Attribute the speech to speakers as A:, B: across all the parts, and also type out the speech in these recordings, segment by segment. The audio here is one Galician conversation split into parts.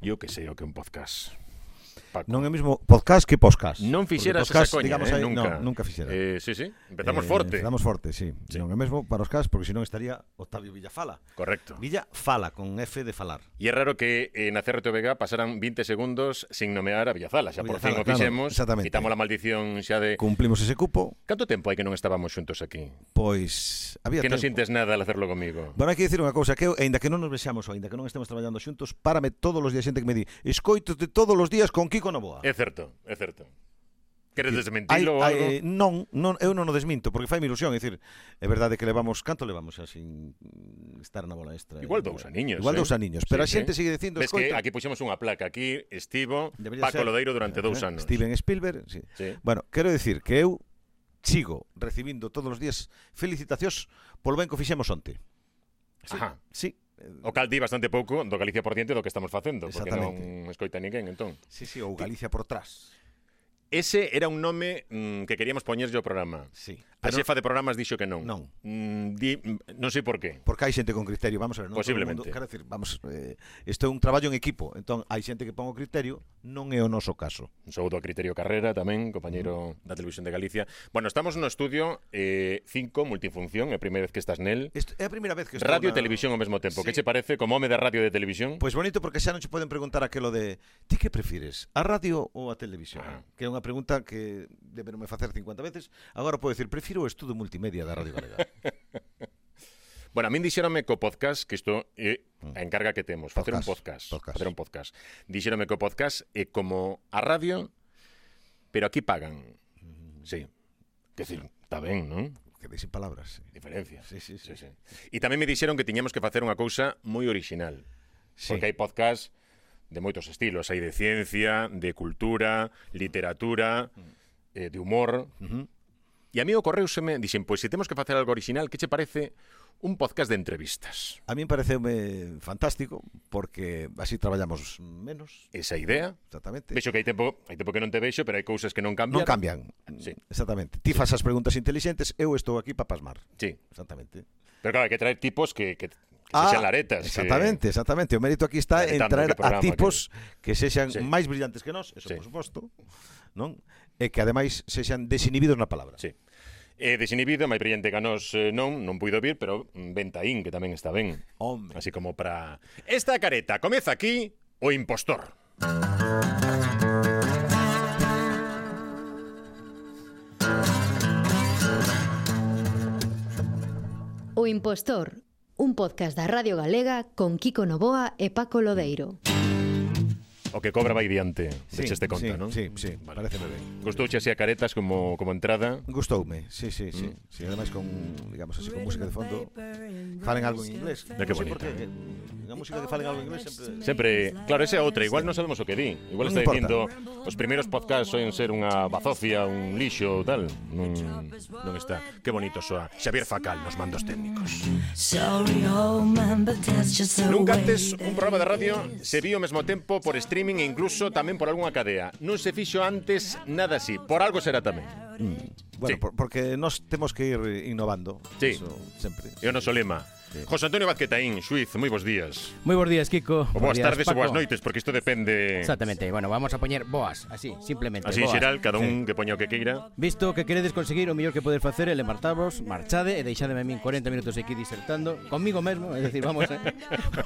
A: Yo que sei o que é un podcast. Paco.
B: Non é o mesmo podcast que podcast.
A: Non fixeras
B: Porque podcast,
A: esa coña,
B: digamos,
A: eh,
B: aí,
A: nunca.
B: non, nunca fixera.
A: Eh, sí, sí, empezamos
B: Eh,
A: forte.
B: Empezamos forte, sí.
A: Sí.
B: Non é o mesmo para os cas, porque senón estaría Octavio Villafala.
A: Correcto.
B: Villa fala con F de falar.
A: E é raro que eh, na CRTVG pasaran 20 segundos sin nomear a Villazala. Xa por fin o
B: Villazala, claro,
A: fixemos,
B: exactamente.
A: quitamos a maldición xa de...
B: Cumplimos ese cupo,
A: Canto tempo hai que non estábamos xuntos aquí?
B: pois había
A: Que non
B: tempo.
A: sintes nada al hacerlo comigo.
B: Bueno, hai que dicir unha cousa que eu, aínda que non nos vexamos, aínda que non estemos traballando xuntos, párame todos os días xente que me di, escoítote todos os días con Kiko Novoa.
A: É certo, é certo. Queres
B: Ai,
A: desmentilo ou
B: ai,
A: algo?
B: eh, non, non, eu non o desminto, porque fai ilusión, é dicir, é verdade que levamos, canto levamos xa sin estar na bola extra?
A: Igual dous aniños,
B: Igual
A: eh?
B: dous aniños, pero
A: Sí,
B: a xente
A: sí.
B: sigue dicindo,
A: Ves que
B: escoito,
A: aquí puxemos unha placa. Aquí estivo
B: Debería
A: Paco
B: ser.
A: Lodeiro durante dous
B: Eh,
A: anos.
B: Steven Spielberg, sí.
A: Sí.
B: Bueno, quero dicir que eu sigo recibindo todos os días felicitacións polo ben que o fixemos onte. Sí,
A: Ajá.
B: sí,
A: O cal di bastante pouco do Galicia por diante do que estamos facendo, porque
B: Exactamente.
A: non escoita ninguén, entón.
B: sí, sí, ou Galicia por trás.
A: Ese era un nome mm, que queríamos poñerlle ao programa.
B: Sí.
A: A
B: Pero
A: xefa de programas dixo que non.
B: Non.
A: Mm, di, mm, non sei por qué.
B: porque hai xente con criterio, vamos a ver, non todo o
A: Posiblemente.
B: Mundo, quero dicir, vamos, eh, isto é un traballo en equipo, entón hai xente que pon o criterio, non é o noso caso.
A: Sou do Criterio Carrera tamén, compañeiro da Televisión de Galicia. Bueno, estamos no estudio 5, eh, cinco, multifunción, é a primeira vez que estás nel.
B: Isto é a primeira vez que estou
A: Radio e
B: na...
A: televisión ao mesmo tempo.
B: Sí.
A: Que che parece como home de radio e de televisión?
B: Pois bonito porque xa non che poden preguntar aquelo de ti que prefires, a radio ou a televisión?
A: Ah.
B: Que é unha pregunta que deberme facer 50 veces. Agora podo decir, prefiro o estudo multimedia da Radio Galega.
A: Bueno, a min dixérame co podcast que isto é a encarga que temos, facer un podcast,
B: Mm. Podcast, podcast.
A: facer un podcast. Dixérame co podcast é como a radio, pero aquí pagan.
B: Mm.
A: Sí. Que decir, está ben, non?
B: Quedei sin palabras. sí.
A: Diferencia.
B: Sí, sí, sí.
A: E tamén me dixeron que tiñamos que facer unha cousa moi original,
B: Sí.
A: porque hai podcast de moitos estilos, hai de ciencia, de cultura, literatura,
B: Mm.
A: eh, de humor. E a mí ocorreuseme, dixen, pois se temos que facer algo original, que che parece un podcast de entrevistas?
B: A min pareceume fantástico porque así traballamos menos,
A: esa idea.
B: exactamente.
A: Vexo que hai tempo, hai tempo que non te vexo, pero hai cousas que non cambian.
B: Non cambian.
A: Sí.
B: Exactamente. Ti fas as preguntas intelixentes, eu estou aquí para pasmar.
A: Sí.
B: Exactamente.
A: Pero claro, hai que traer tipos que, que, que se sean laretas. que-
B: Ah, Exactamente, exactamente. O mérito aquí está en
A: Laretando
B: traer
A: que programa,
B: a tipos que, sexan
A: Sí.
B: máis brillantes que nós, eso
A: Sí.
B: por suposto, non? E que ademais sexan desinhibidos na palabra.
A: Sí. Eh, desinhibido, máis brillante que a nós eh, non, non puido vir, pero mm, Ventaín, que tamén está ben.
B: Home.
A: Así como para... Esta careta, comeza aquí o impostor.
C: O Impostor, un podcast da Radio Galega con Kiko Novoa e Paco Lodeiro.
A: O que cobra vai diante, sí, dexeste conta,
B: sí,
A: non?
B: Sí, sí,
A: Vale.
B: vale. pareceme ben.
A: Gustouche así a caretas como, como entrada.
B: Gustoume, sí,
A: Mm.
B: sí, sí. sí ademais con, digamos así, con música de fondo, falen algo en inglés.
A: Mira que
B: Non sei
A: bonito.
B: por qué, que A música que falen algo en inglés sempre...
A: Sempre, claro, esa é outra, igual non sabemos o que di. Igual
B: Non
A: está
B: importa.
A: dicindo os primeiros podcasts soen ser unha bazofia, un lixo ou tal. Non, non está. Que bonito soa. Xavier Facal nos mandos técnicos.
D: Sorry, home, man, but that's just the
A: Nunca
D: way
A: antes
D: that
A: un programa de radio
D: it is.
A: se viu ao mesmo tempo por streaming e incluso tamén por algunha cadea. Non se fixo antes nada así. Por algo será tamén.
B: Bueno,
A: Sí.
B: por, porque nós temos que ir innovando.
A: Sí.
B: Eso, sempre.
A: É o noso lema. José Antonio Vázquetaín, Suiz, moi bos días.
E: Moi bons días,
A: O
E: Kiko.
A: boas
E: Bos días,
A: tardes ou
E: Paco.
A: boas noites, porque isto depende...
E: Exactamente, bueno, vamos a poñer boas, así, simplemente.
A: Así en
E: boas.
A: xeral, cada un que poña o que queira.
E: Visto que queredes conseguir o mellor que poder facer é levantarvos, marchade e deixademe a min 40 minutos aquí disertando comigo mesmo, é dicir, vamos, eh.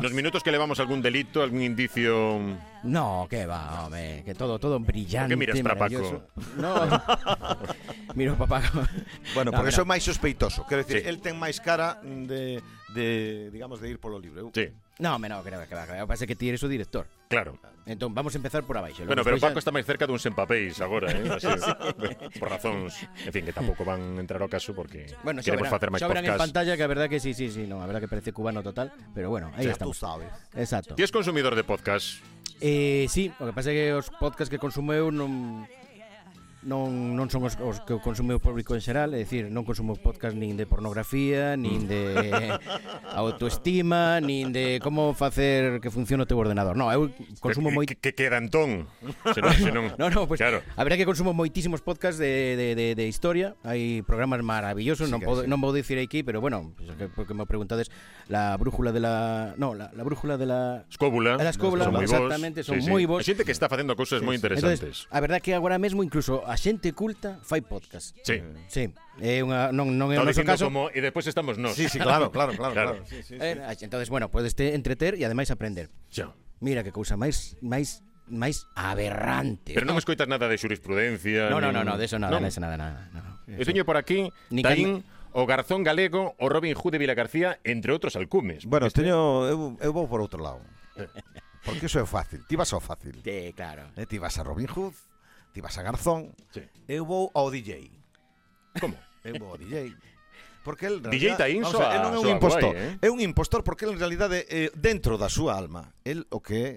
A: Nos minutos que levamos algún delito, algún indicio
E: no, que va, home, que todo todo brillante,
A: Que miras pra Paco?
E: maravilloso. No. Miro pa Paco.
B: Bueno,
E: No,
B: porque
E: mira,
B: sou máis sospeitoso. Quero dicir,
A: Sí.
B: Ah, sí. el ten máis cara de, de, digamos, de ir polo libre. Eu,
A: Sí,
E: No, home, no, que va, que va, que va. O que pasa é que ti eres o director.
A: claro.
E: Entón, vamos a empezar por abaixo.
A: Bueno,
E: Logo
A: pero
E: despois
A: Paco
E: xa-
A: está máis cerca duns empapéis agora, eh? Así, Por razóns, en fin, que tampouco van entrar ao caso porque
E: Bueno, xa
A: queremos
E: verán,
A: facer máis
E: xa verán en
A: podcast.
E: pantalla que a verdad que sí, sí, sí, no, a verdad que parece cubano total, pero bueno, aí
B: Xa tú
E: estamos.
B: sabes.
E: Exacto.
A: Ti és consumidor de podcast?
E: Eh, sí, o que pasa é que os podcasts que consumo eu non non, non son os, os que consume o público en xeral, é dicir, non consumo podcast nin de pornografía, nin de autoestima, nin de como facer que funcione o teu ordenador. Non, eu
A: que,
E: consumo moi...
A: Que, que queda entón. Se non, se non,
E: No, no, pues,
A: Claro.
E: a verdade é que consumo moitísimos podcasts de, de, de, de historia Hai programas
B: Sí
E: maravillosos, non,
B: que
E: podo,
B: hai, sí.
E: non vou dicir aquí Pero bueno, pues, que, porque me preguntades La brújula de la... No, la, la brújula de la...
A: Escóbula.
E: A la escóbula,
A: son moi vos,
E: exactamente, son moi vos.
A: Hai xente que está facendo cousas moi interesantes.
E: Entonces, a verdade é que agora mesmo incluso a xente culta fai podcast
A: sí.
E: Sí, é unha, non, non é o
A: Estaba
E: noso
A: dicindo caso...
E: caso
A: como... E despois estamos nós.
B: Sí, sí, claro, claro, claro.
A: Claro.
B: claro. Sí, sí, sí.
E: Eh, entonces, bueno, podes te entreter e ademais aprender.
A: Xa.
E: Mira que cousa máis máis máis aberrante.
A: Pero non escoitas nada de xurisprudencia.
E: no, no,
A: nin-
E: no, no, de eso nada,
A: Non.
E: de eso nada, nada. No.
A: Eu teño por aquí
E: Ni
A: Taín, o Garzón Galego, o Robin Hood de Vila García, entre outros alcumes.
B: Bueno, teño, eu, eu vou por outro lado. Porque iso é fácil. Ti vas ao fácil.
E: Sí, claro.
B: Eh, ti vas a Robin Hood, ti vas a Garzón.
A: Sí.
B: Eu vou ao DJ.
A: Como?
B: Eu vou ao DJ. Porque el,
A: DJ Taín
B: vamos a ver,
A: soa-
B: el non é un
A: soa
B: impostor.
A: guai, eh?
B: É un impostor porque el, en realidade eh, dentro da súa alma, el o que é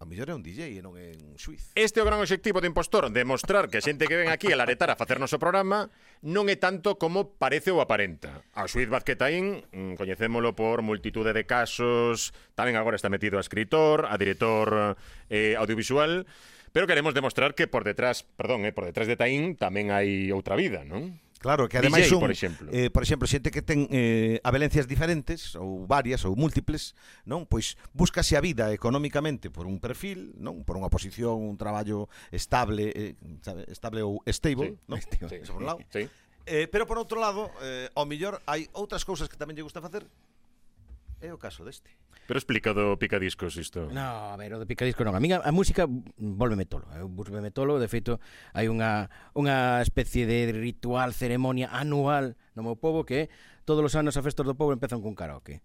B: a mellor é un DJ e non é un suiz.
A: Este é o gran obxectivo do impostor, demostrar que a xente que ven aquí a laretar a facernos o programa non é tanto como parece ou aparenta. A Suiz Vázquetaín, mm, coñecémolo por multitude de casos, tamén agora está metido a escritor, a director eh, audiovisual, pero queremos demostrar que por detrás, perdón, eh, por detrás de Taín tamén hai outra vida, non?
B: Claro, que
A: DJ,
B: ademais un,
A: por exemplo.
B: Eh, por exemplo, xente que ten eh, avelencias diferentes ou varias ou múltiples, non? Pois búscase a vida económicamente por un perfil, non? Por unha posición, un traballo estable, eh, sabe, estable ou
A: Sí,
B: stable, non?
E: stable.
B: Eso por un lado.
A: Sí.
B: Eh, pero por outro lado, eh, ao mellor hai outras cousas que tamén lle gusta facer. É o caso deste.
A: Pero explica do picadiscos isto.
E: No, a ver, o de picadisco non. A mí a, a música volveme tolo. Eu volveme tolo, de feito, hai unha, unha especie de ritual, ceremonia anual no meu povo que é todos os anos a festas do povo empezan cun karaoke.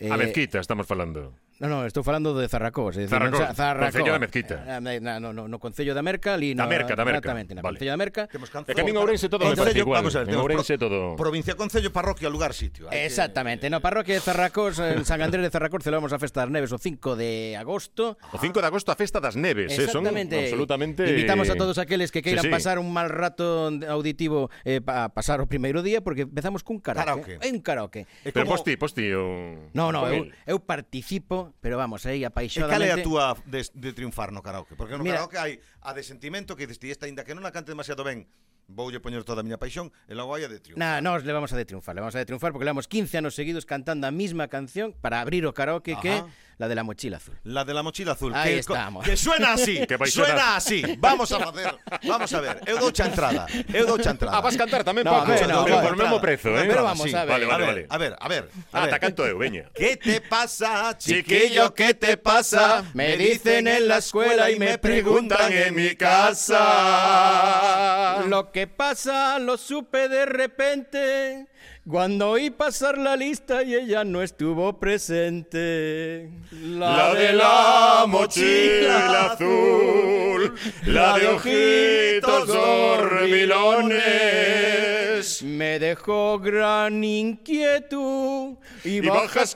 E: Eh,
A: A mezquita estamos falando.
E: No, no, estou falando de Zarracós, é dicir,
A: Zarracós,
E: non sa- Zarracós.
A: Concello da Mezquita.
E: Eh, Na, no, no, no Concello da Merca, ali
A: Da Merca, da Merca.
E: Exactamente, na
A: Vale.
E: Concello da Merca.
B: Temos canzo-
A: É que a min Ourense todo me
B: Concello,
A: parece igual.
B: vamos a ver,
A: En
B: temos
A: Ourense
B: pro-
A: todo-
B: Provincia, concello, parroquia, lugar, sitio. Hai que-
E: Exactamente, na parroquia de Zarracós, en San Andrés de Zarracós, celebramos a Festa das Neves o 5 de agosto.
A: O 5 de agosto a Festa das Neves, eh, son absolutamente
E: Invitamos a todos aqueles que queiran
A: Sí, sí.
E: pasar un mal rato auditivo eh, pa, pasar o primeiro día porque empezamos cun
B: Karaoke. Eh,
E: karaoke. É un karaoke.
B: É
A: Pero
B: como-
A: posti, posti o...
E: No, no,
A: con
E: eu,
A: el.
E: eu participo, pero vamos, aí
B: E cal é
E: apaixonadamente.
B: a túa de, de triunfar no karaoke? Porque no
E: Mira-
B: karaoke hai a de sentimento que dices, "Ti esta ainda que non a cante demasiado ben, voulle poñer toda a miña paixón, e logo hai a de triunfo.
E: Nah, nos le vamos a de triunfar, le vamos a de triunfar porque levamos 15 anos seguidos cantando a misma canción para abrir o karaoke
B: Ajá.
E: que é la de la mochila azul.
B: La de la mochila azul,
E: Ahí
B: que, co-
E: estamos.
B: que suena así,
A: Que vai
B: suena
A: sonar.
B: así. Vamos a facer, vamos a ver. Eu douche a entrada, eu douche a entrada.
A: Ah, vas cantar tamén,
E: No,
A: Paco,
E: a ver, no,
A: pero
E: vale.
A: por o mesmo prezo, eh?
E: Pero vamos a ver.
A: Vale, vale,
B: a
A: vale.
B: ver, a ver, a ver.
A: Ah,
B: a ver.
A: ta canto eu, veña.
B: ¿Qué te pasa,
A: Chiquillo, ¿qué te pasa?
E: Me dicen en la escuela y me
A: preguntan en mi casa.
E: Lo que pasa lo supe de repente cuando oí pasar la lista y ella no estuvo presente.
A: La de la mochila azul, la de ojitos dormilones.
E: Me dejó gran inquietud y,
A: Y bajas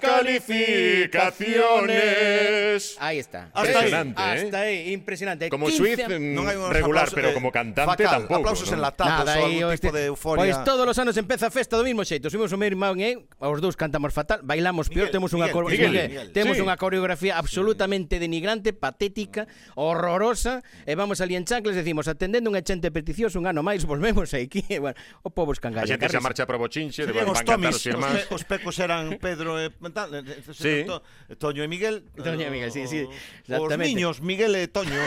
A: calificaciones.
E: Ahí está.
B: Hasta ahí.
E: Impresionante,
A: ¿eh?
E: Hasta ahí, impresionante.
A: Como
E: 15
A: Swift,
B: Non hai
A: mm,
B: unos
A: regular,
B: aplausos,
A: pero
B: eh,
A: como cantante
B: facal,
A: tampoco.
B: Aplausos
A: ¿no?
B: en la tapa,
E: Nada,
B: ou
E: aí,
B: algún
E: este-
B: tipo de euforia.
E: Pois todos os anos empeza a festa do mismo xeito. Subimos o meu irmán e eu, ¿eh? os dous cantamos fatal, bailamos peor,
B: Miguel,
E: temos unha
B: Miguel,
E: cor-
A: Miguel, Miguel.
E: temos
A: Sí.
E: unha coreografía absolutamente denigrante, patética, horrorosa, e vamos ali en chanclas e decimos, atendendo unha xente peticiosa un ano máis, volvemos aquí. E, bueno, o povo escangalla.
A: A xente xa
E: Carles.
A: marcha para o bochinche, de
B: Serían
A: van
B: os
A: cantar
B: tomis,
A: os
B: os,
A: irmáns.
B: pe- os pecos eran Pedro e tal, eh, eh,
A: Sí.
B: to- Toño e Miguel.
E: Toño e Miguel, sí, sí,
B: O- Os
E: exactamente.
B: miños, Miguel e Toño.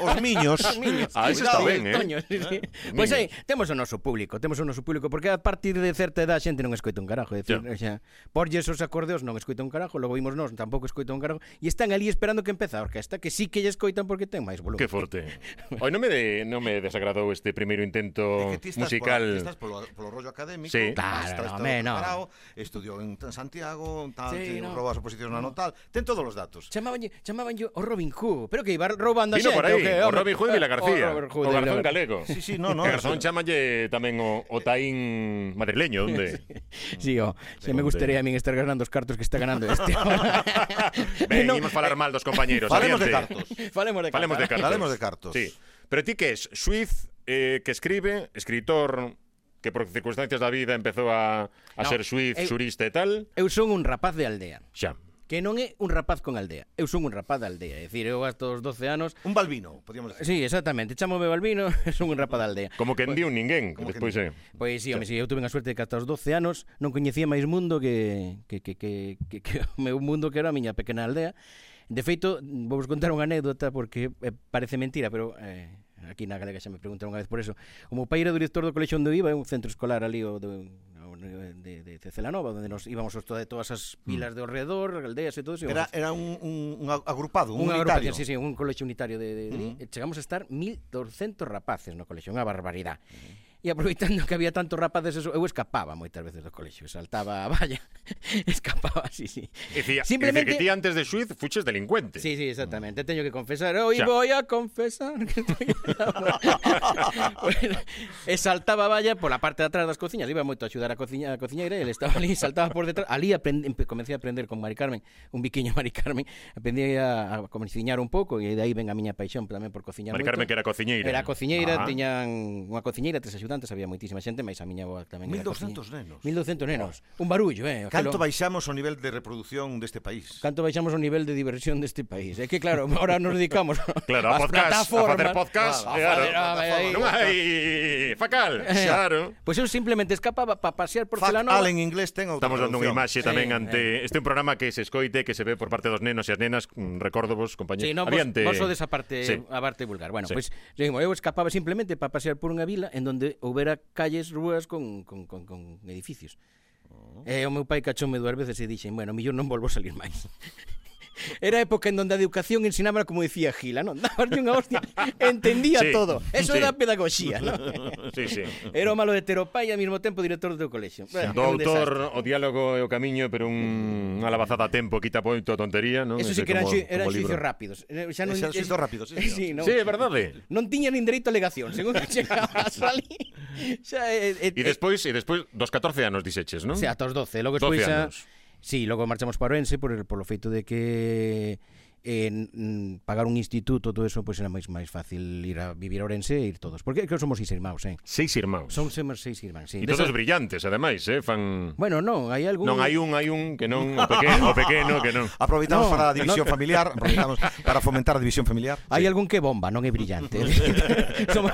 B: os miños.
E: Miños.
A: Ah, ese está
E: Cuidado,
A: ben, eh?
E: Toño, sí, sí. Pois aí, temos o noso público, temos o noso público, porque a partir de certa edad a xente non escoita un carajo, é dicir,
A: Ya.
E: o sea, porlles os acordeos non escoita un carajo, logo vimos nós, tampouco escoita un carajo, e están ali esperando que empeza a orquesta, que sí que lle escoitan porque ten máis volumen.
A: Que forte. Oi, non me, de, non me desagradou este primeiro intento
B: ti
A: eh,
B: estás Polo, ti
A: musical.
B: estás polo, polo rollo académico.
A: Sí.
E: Claro, home, no.
B: preparado, Estudiou en Santiago, tal, sí,
E: Sí, no.
B: robou as oposicións no. na notal. Ten todos os datos.
E: Chamabanlle, chamabanlle o Robin Hood, pero que iba roubando a
A: Vino
E: xente.
A: por aí,
E: que, eh,
A: o Robin Hood de Vila García,
E: O, Robin Hood
A: o
E: de Vila
A: Garzón
E: García.
A: Galego.
B: Sí, Ah, sí, no, no.
A: O Garzón
B: eso-
A: chamalle tamén o, o Taín madrileño, onde?
E: Sí, o, se me gustaría a min estar ganando os cartos que está ganando este.
A: Ben,
E: No,
A: imos falar mal dos compañeros.
B: Falemos de
A: adiante.
B: cartos.
E: Falemos de
A: Falemos de cartos.
B: Falemos de cartos.
A: Sí. Pero ti que es? Suiz, eh, que escribe, escritor que por circunstancias da vida empezou a, a
E: No,
A: ser suiz,
E: eu-
A: surista e tal,
E: Eu son un rapaz de aldea,
A: xa.
E: que non é un rapaz con aldea. Eu son un rapaz de aldea, é dicir, eu hasta os 12 anos
B: Un balbino, podríamos decir.
E: Sí, exactamente, chamome Balbino, son un rapaz de aldea.
A: Como que endiu ninguén,
B: Como que
A: despois eh. é.
E: Pois sí, home, sí, eu tuve a suerte de que hasta os 12 anos non coñecía máis mundo que, que, que, que, que, que o meu mundo que era a miña pequena aldea. De feito, vou vos contar unha anécdota porque eh, parece mentira, pero eh, aquí na Galega xa me preguntaron unha vez por eso. O meu pai era director do colexio onde eu iba, é un centro escolar ali o de, o de, de, de Celanova, onde nos íbamos os, de todas as pilas de alrededor, aldeas e todo. eso,
B: Era, era un, un, un agrupado, un,
E: Unha
B: unitario.
E: agrupación, sí, sí, un colexio unitario de, de, de uh -huh. chegamos a estar 1200 rapaces no colexio, unha barbaridade. Uh -huh. E aproveitando que había tantos rapaces, eso, eu escapaba moitas veces do colexio, saltaba a valla, escapaba, sí, sí.
A: Dicía, Simplemente...
E: Simplemente-
A: que ti antes de suiz fuches delincuente.
E: Sí, sí, exactamente. Teño que confesar, hoy
A: Xa.
E: voy a confesar que estoy bueno, e saltaba a valla pola parte de atrás das cociñas, iba moito a axudar a cociña a cociñeira, e ele estaba ali, saltaba por detrás. Ali aprendi, empe- comecei a aprender con Mari Carmen, un biquiño Mari Carmen, aprendí a, a cociñar un pouco e de aí ven a miña paixón tamén por cociñar
A: Mari
E: moito.
A: Carmen que era cociñeira.
E: Era cociñeira,
A: Ah.
E: tiñan unha cociñeira, tres axudantes, había moitísima xente, mais a miña boa tamén era
B: 1200 nenos.
E: cociñeira. 1200 nenos. Un barullo, eh.
B: Canto
E: aquilo-
B: baixamos o nivel de reproducción deste país?
E: canto baixamos o nivel de diversión deste país. É que claro, agora nos dedicamos
A: Claro, a
E: ás
A: podcast, a facer podcast,
E: Claro, a
A: claro.
E: facer- ah, vai, aí.
A: Non hai facal, claro.
E: Pois eu simplemente escapaba para pasear por
B: Fact
E: Celanova.
B: Allen en inglés ten outra
A: Estamos dando unha imaxe
B: traducción.
A: tamén
E: Sí, eh.
A: ante... Este é un programa que se escoite, que se ve por parte dos nenos e as nenas, mm, recordo vos, compañeros.
E: Sí, no, vos,
A: Adiante.
E: vos sodes a parte,
A: Sí.
E: a parte vulgar. Bueno,
A: Sí.
E: pois, digo, eu escapaba simplemente para pasear por unha vila en donde houbera calles, rúas con, con, con, con edificios.
A: Oh.
E: E o meu pai cachoume dúas veces e dixen, bueno, millón non volvo a salir máis. Era a época en donde a educación ensinábara como decía Gila, non? Dabaste unha hostia, entendía
A: Sí,
E: todo. Eso
A: sí.
E: era pedagogía, non?
A: Sí, sí.
E: Era o malo de Teropai e ao mesmo tempo director do teu colexio. Bueno,
A: Do
E: é un desastre.
A: autor, o diálogo e o camiño, pero un, unha lavazada a tempo, quita poito a tontería, non?
E: Eso sí
A: Ese
E: que eran,
A: como-
E: xui- eran
A: como libro.
E: xuicios rápidos. Eh, Xa
B: Eran xuicios
E: es-
B: rápidos, sí,
E: eh, sí,
A: No.
E: non,
A: Sí, é verdade.
E: non tiña nin dereito a alegación, según que chegaba a salir. Xa, eh, eh,
A: E despois, e despois dos 14 anos dixeches, non?
E: Sí, ata os 12. Logo
A: 12
E: despois xa...
A: anos.
E: Sí, logo marchamos para Orense por, por o feito de que eh, n- pagar un instituto, todo eso, pois pues era máis máis fácil ir a vivir a Orense e ir todos. Porque creo que somos seis irmãos, eh?
A: Seis irmãos.
E: Son somos seis irmáns,
A: E
E: sí. Desa-
A: todos brillantes, ademais, eh? Fan...
E: Bueno, non, hai algún...
A: Non, hai un, hai un que non, o pequeno, o pequeno que non.
B: Aproveitamos
E: No,
B: para a división familiar, aproveitamos para fomentar a división familiar.
E: Hai algún que bomba, non é brillante. Somos...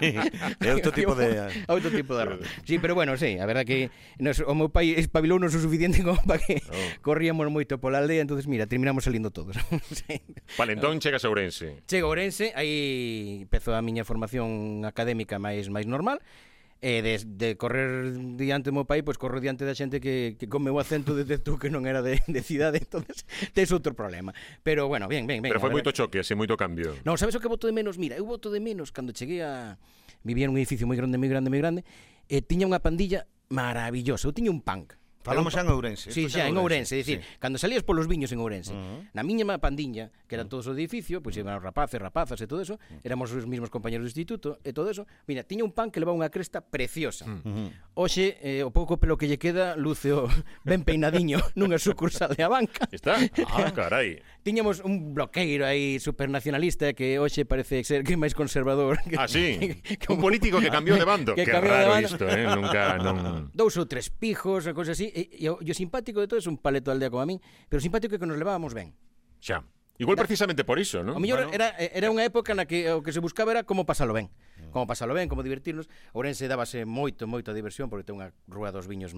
B: Sí, é outro tipo de-
E: outro tipo de ronda. Sí, pero bueno, sí, a verdad que nos, o meu pai espabilou non o suficiente como para que oh. corríamos moito pola aldea, entonces mira, terminamos salindo todos. sí.
A: Vale, entón chegas a Ourense.
E: Chego a Ourense, aí empezou a miña formación académica máis máis normal. E de, de correr diante do meu pai, pois corro diante da xente que, que con meu acento detectou que non era de, de cidade, entonces tes outro problema. Pero bueno, ben, ben, ben.
A: Pero
E: a
A: foi moito
E: verdad-
A: choque, así moito cambio.
E: Non, sabes o que voto de menos? Mira, eu voto de menos cando cheguei a... Vivía nun edificio moi grande, moi grande, moi grande e tiña unha pandilla maravillosa. Eu tiña un punk.
B: Falamos xa en Ourense.
E: Sí,
B: isto
E: xa, en Ourense, é dicir, sí. cando salías polos viños en Ourense, uh -huh. na miña má pandiña, que eran todos os edificio, pois iban os rapaces, rapazas e todo eso,
B: Mm.
E: éramos os mesmos compañeros do instituto e todo eso, mira, tiña un pan que levaba unha cresta preciosa.
B: Mm.
E: Uh -huh. Oxe, eh, o pouco pelo que lle queda, luceo ben peinadiño nunha sucursal de a banca.
A: Está? Ah, carai.
E: Tiñamos un bloqueiro aí supernacionalista que hoxe parece ser que é máis conservador. Que,
A: Ah, sí.
E: que- que
A: Un político que cambiou de bando. Que,
E: Que
A: que
E: cambiou de
A: raro
E: bando.
A: isto, eh? Nunca, non...
E: Dous ou tres pijos, ou cousas así. E, e, o, e o simpático de todo é un paleto aldea como a min, pero o simpático é que nos levábamos ben.
A: Xa. Igual precisamente por iso, non?
E: O mellor bueno. era era unha época na que o que se buscaba era como pasalo ben. Como pasalo ben, como divertirnos. Ourense dábase moito, moito diversión porque ten unha rúa dos viños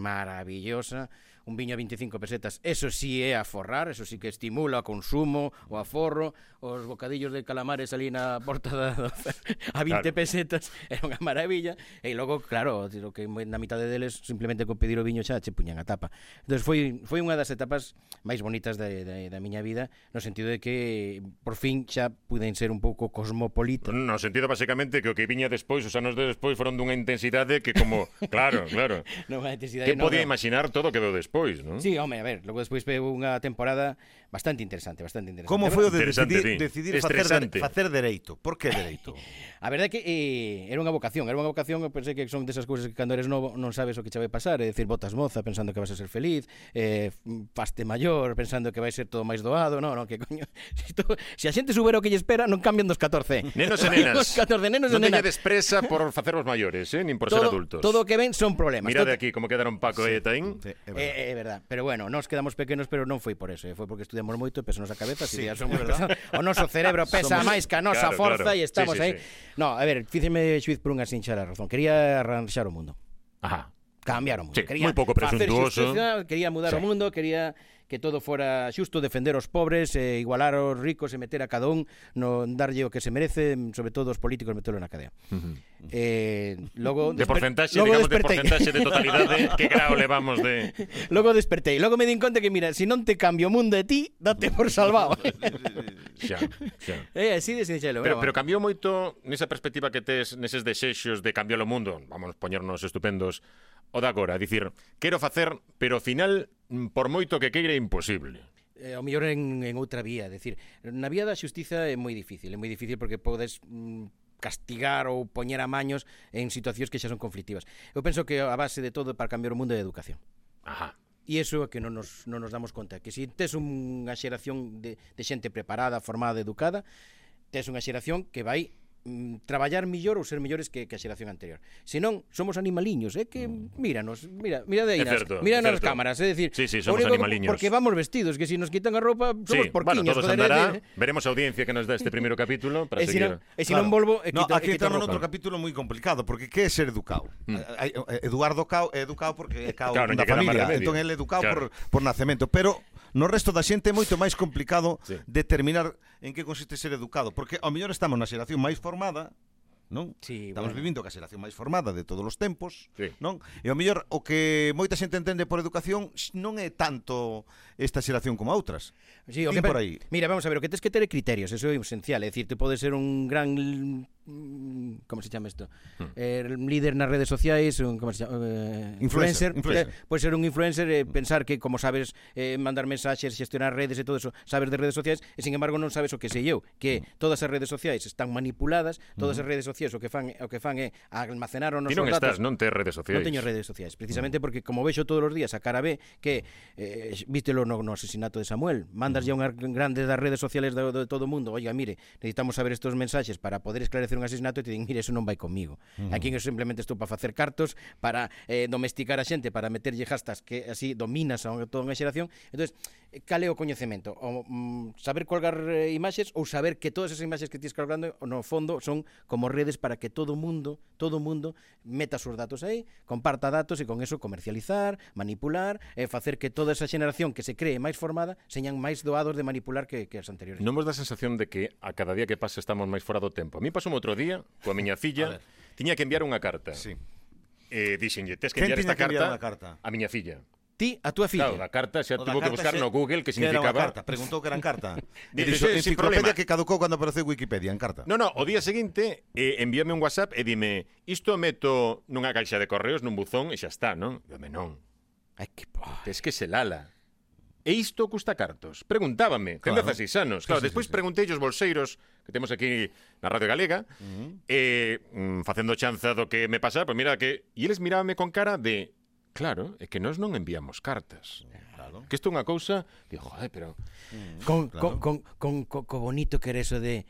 E: maravillosa, un viño a 25 pesetas. Eso sí é a forrar, eso sí que estimula o consumo, o aforro, os bocadillos de calamares ali na porta da, a
A: Claro.
E: 20 claro. pesetas, era unha maravilla. E logo, claro, o que moi- na mitade deles simplemente con pedir o viño xa che puñan a tapa. Entón foi foi unha das etapas máis bonitas da, da, da miña vida, no sentido de que por fin xa puden ser un pouco cosmopolita.
A: Pues No sentido, basicamente, que o que viña despois, os anos de despois, foron dunha intensidade que como... Claro, claro.
E: Non hai necesidade
A: Que
E: non,
A: podía
E: non.
A: imaginar todo o que veu despois, non?
E: Sí, home, a ver, logo despois veu unha temporada bastante interesante, bastante interesante.
B: Como
E: A ver,
B: foi o de
A: Interesante,
B: decidir,
A: sí.
B: decidir facer,
A: Estresante.
B: facer dereito? Por que dereito?
E: A verdade é que eh, era unha vocación, era unha vocación, eu pensei que son desas cousas que cando eres novo non sabes o que che vai pasar, é dicir, botas moza pensando que vas a ser feliz, eh, faste maior pensando que vai ser todo máis doado, non, non, que coño, se, to, se a xente subera o que lle espera, non cambian dos 14.
A: Nenos e nenas.
E: Cambian Dos 14 nenos
A: non
E: e nenas.
A: teñades presa por facervos maiores, eh, nin por ser
E: Todo,
A: adultos.
E: todo o que ven son problemas.
A: Mirad
E: Todo-
A: aquí como quedaron Paco e Taín.
B: Sí, é verdade.
E: Eh, É, é verdad, pero bueno, nos quedamos pequenos, pero non foi por eso, eh, foi porque estudiamos moito e pesou a cabeza,
B: Sí, é
E: sí, somos, o noso cerebro pesa
B: Somos-
E: máis que a nosa
A: Claro,
E: forza
A: claro.
E: e estamos
A: Sí, sí,
E: aí.
A: sí.
E: No, a ver, fíceme xuiz por unha sinxera razón, quería arranxar o mundo.
A: Ajá.
E: Cambiar o mundo.
A: Sí,
E: quería
A: moi pouco
E: facer
A: presuntuoso.
E: xustiza, Quería mudar
A: Sí.
E: o mundo, quería que todo fora xusto, defender os pobres, eh, igualar os ricos e meter a cada un, no darlle o que se merece, sobre todo os políticos metelo na cadea. Eh, logo
A: De
E: desper-
A: porcentaxe,
E: logo
A: digamos, de
E: despertei.
A: porcentaxe de totalidade, que grado levamos de...
E: Logo despertei, logo me din conta que mira, se si non te cambio o mundo de ti, date por salvado. Eh,
A: Xa, xa.
E: é Eh, así de sinxelo,
A: Pero,
E: bravo.
A: pero cambiou moito nesa perspectiva que tes neses desexos de cambiar o mundo, vamos poñernos estupendos, o da agora, dicir, quero facer, pero ao final, mm, por moito que queira, é imposible.
E: eh, ao mellor en, en outra vía, decir, na vía da xustiza é moi difícil, é moi difícil porque podes mm, castigar ou poñer a maños en situacións que xa son conflictivas. Eu penso que a base de todo para cambiar o mundo é a educación.
A: Ajá.
E: E iso é que non nos, non nos damos conta Que se tes unha xeración de, de xente preparada, formada, educada Tes unha xeración que vai mm, traballar millor ou ser millores que, que a xeración anterior. Se non, somos animaliños, é que míranos, mira, mira de aí
A: Mm. É
E: nas,
A: certo,
E: mira
A: é
E: nas
A: certo.
E: cámaras, é dicir,
A: Sí, sí,
E: o
A: somos
E: único que-
A: animaliños.
E: porque vamos vestidos, que se si nos quitan a roupa somos
A: Sí, bueno,
E: porquiños,
A: todos
E: joder, é
A: andará.
B: ¿eh?
E: de-
A: Veremos a audiencia que nos dá este primeiro capítulo para
E: E se non,
A: seguir.
E: e se non volvo, eh, e
B: no,
E: quito,
B: aquí
E: e quito a
B: entramos
E: roupa.
B: noutro capítulo moi complicado, porque que é ser educado? Eh, Eduardo Cao é educado porque é
A: Mm.
B: cao
A: Claro, non
B: da
A: lle queda máis
B: familia,
A: remedio.
B: entón ele é educado
A: Claro.
B: por, por nacemento, pero no resto da xente é moito máis complicado
A: Sí.
B: determinar en que consiste ser educado, porque ao mellor estamos na xeración máis formada, non?
E: Sí,
B: estamos
E: bueno.
B: vivindo ca xeración máis formada de todos os tempos,
A: Sí.
B: non? E ao mellor o que moita xente entende por educación x- non é tanto esta xeración como a outras.
E: Sí, o
B: Din
E: que
B: por aí.
E: pe- Mira, vamos a ver, o que tens que ter é criterios, eso é esencial, é dicir, te podes ser un gran mm, como se chama isto?
A: Hmm.
E: Eh, líder nas redes sociais, un como se chama, eh,
B: Influencer,
E: influencer,
B: influencer.
E: Eh, podes ser un influencer e eh, pensar que como sabes eh, mandar mensaxes, xestionar redes e todo eso, sabes de redes sociais, e sin embargo non sabes o que sei eu, que
A: Hmm.
E: todas as redes sociais están manipuladas, todas as redes sociais o que fan o que fan é almacenar os
A: Ti
E: nosos
A: non
E: datos.
A: estás, non tes redes sociais.
E: Non teño redes sociais, precisamente porque como vexo todos os días a cara B que eh, vístelo no, no asesinato de Samuel, mandas ya unha grande das redes sociales de, de todo o mundo, oiga, mire, necesitamos saber estes mensaxes para poder esclarecer un asesinato e te din, mire, eso non vai comigo. Aquí eu simplemente estou para facer cartos, para eh, domesticar a xente, para meterlle hashtags que así dominas a toda unha xeración. Entonces, eh, cal é o coñecemento? O, mm, saber colgar eh, imaxes ou saber que todas esas imaxes que ti colgando no fondo son como redes para que todo o mundo, todo o mundo meta os seus datos aí, comparta datos e con eso comercializar, manipular, e facer que toda esa xeración que se cree máis formada señan máis doados de manipular que, que as anteriores.
A: Non vos dá sensación de que a cada día que pasa estamos máis fora do tempo. A mí pasou outro día, coa miña filla, tiña que enviar unha carta. Eh, dixenlle, tes que
B: Quen
A: enviar
B: tiña
A: esta
B: que enviar
A: carta,
B: unha carta?
A: a miña filla.
E: Ti, a túa filla.
A: Claro, da carta xa
B: O da
A: tuvo que
B: carta
A: buscar
B: xe-
A: no Google que
B: que era unha
A: significaba...
B: carta, preguntou que eran carta.
A: Dice,
B: Dixo,
A: "Sí, sin
B: enciclopedia
A: problema."
B: que caducou cando apareceu Wikipedia en carta.
A: No, no, o día seguinte eh, envíame un WhatsApp e dime isto meto nunha caixa de correos nun buzón e xa está, non? Dime, non,
E: Ai, que po...
A: tes que se lala. E isto custa cartos. Preguntábame, ten
B: Claro.
A: 16 anos. Claro,
B: Sí, sí,
A: despois
B: sí, sí.
A: preguntei aos bolseiros que temos aquí na Radio Galega, eh, mm, facendo chanza do que me pasaba, pois mira que... E eles mirábame con cara de... Claro, é que nós non enviamos cartas.
B: Claro.
A: Que isto é unha cousa... Digo, joder, pero...
E: Con, con, con, con, con, co bonito que era eso de...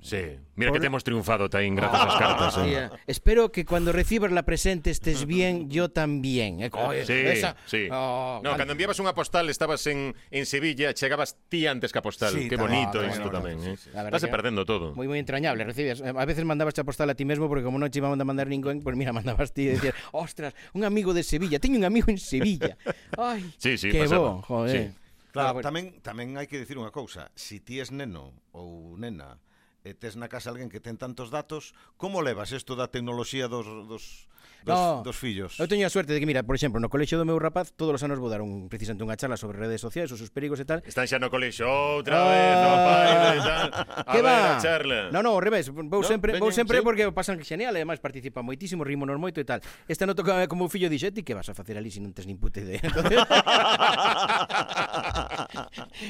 A: Sí, mira que temos triunfado, Taín, grazas ás cartas.
E: Sí,
A: eh.
E: eh. Espero que cuando recibas la presente estés bien, yo también. Eh, co-
A: Sí,
E: esa-
A: sí.
E: Oh,
A: no, cando enviabas unha postal estabas en, en Sevilla, chegabas ti antes que a postal.
B: Sí,
A: Qué
B: tamén.
A: bonito
E: Ah, qué
A: isto
E: bueno,
A: tamén, eh.
B: sí,
E: sí. La verdad
A: Estás
E: que-
A: perdendo todo.
E: Muy, muy entrañable, recibías. A veces mandabas a postal a ti mesmo porque como non te iba a mandar ningún, pues mira, mandabas ti e decías, ostras, un amigo de Sevilla, teño un amigo en Sevilla. Ay,
A: Sí, sí,
E: que
A: pasaba.
E: bo,
A: Sí.
E: joder. Ah,
B: Claro,
E: bueno.
B: tamén tamén hai que dicir unha cousa, si ti es neno ou nena e tes na casa alguén que ten tantos datos, como levas isto da tecnoloxía dos dos dos,
E: No.
B: dos fillos?
E: Eu teño a suerte de que, mira, por exemplo, no colexio do meu rapaz todos os anos vou dar un, precisamente unha charla sobre redes sociais, os seus perigos e tal,
A: Están xa no colexo outra vez, no baile e tal. A
E: Ah. que
A: ver,
E: va?
A: a charla.
E: No, no, ao revés, vou
A: No,
E: sempre,
A: veñen,
E: vou sempre
A: sí.
E: porque o pasan genial, e ademais participan moitísimo, rimo nos moito e tal. Esta non toca como o fillo dixo, "E ti que vas a facer ali se non tes nin puta idea. Entonces,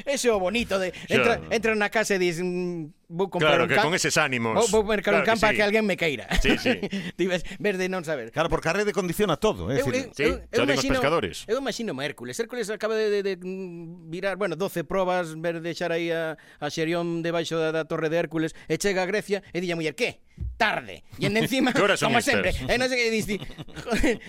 E: Ese é o bonito de entra,
A: Xa.
E: entra na casa e dis mm, vou comprar
A: Claro,
E: un
A: que
E: can-
A: con eses ánimos.
E: Vou, vou mercar
A: claro
E: un can para
A: sí.
E: que alguén me queira.
A: Sí, sí.
E: Ti ves, ves de non saber.
B: Claro, porque a rede condiciona todo, eh, é
E: Eu,
B: dicir,
E: eu,
A: Sí,
E: eu,
A: xa
E: eu
A: digo os
E: imagino-
A: pescadores.
E: Eu imagino a Hércules. Hércules acaba de, de, de mm, virar, bueno, 12 probas, ver deixar aí a, a Xerión debaixo da, da torre de Hércules, e chega a Grecia e dille a muller, que? Tarde. E en encima,
A: Que horas son
E: como
A: estas?
E: sempre, e non sei que dici,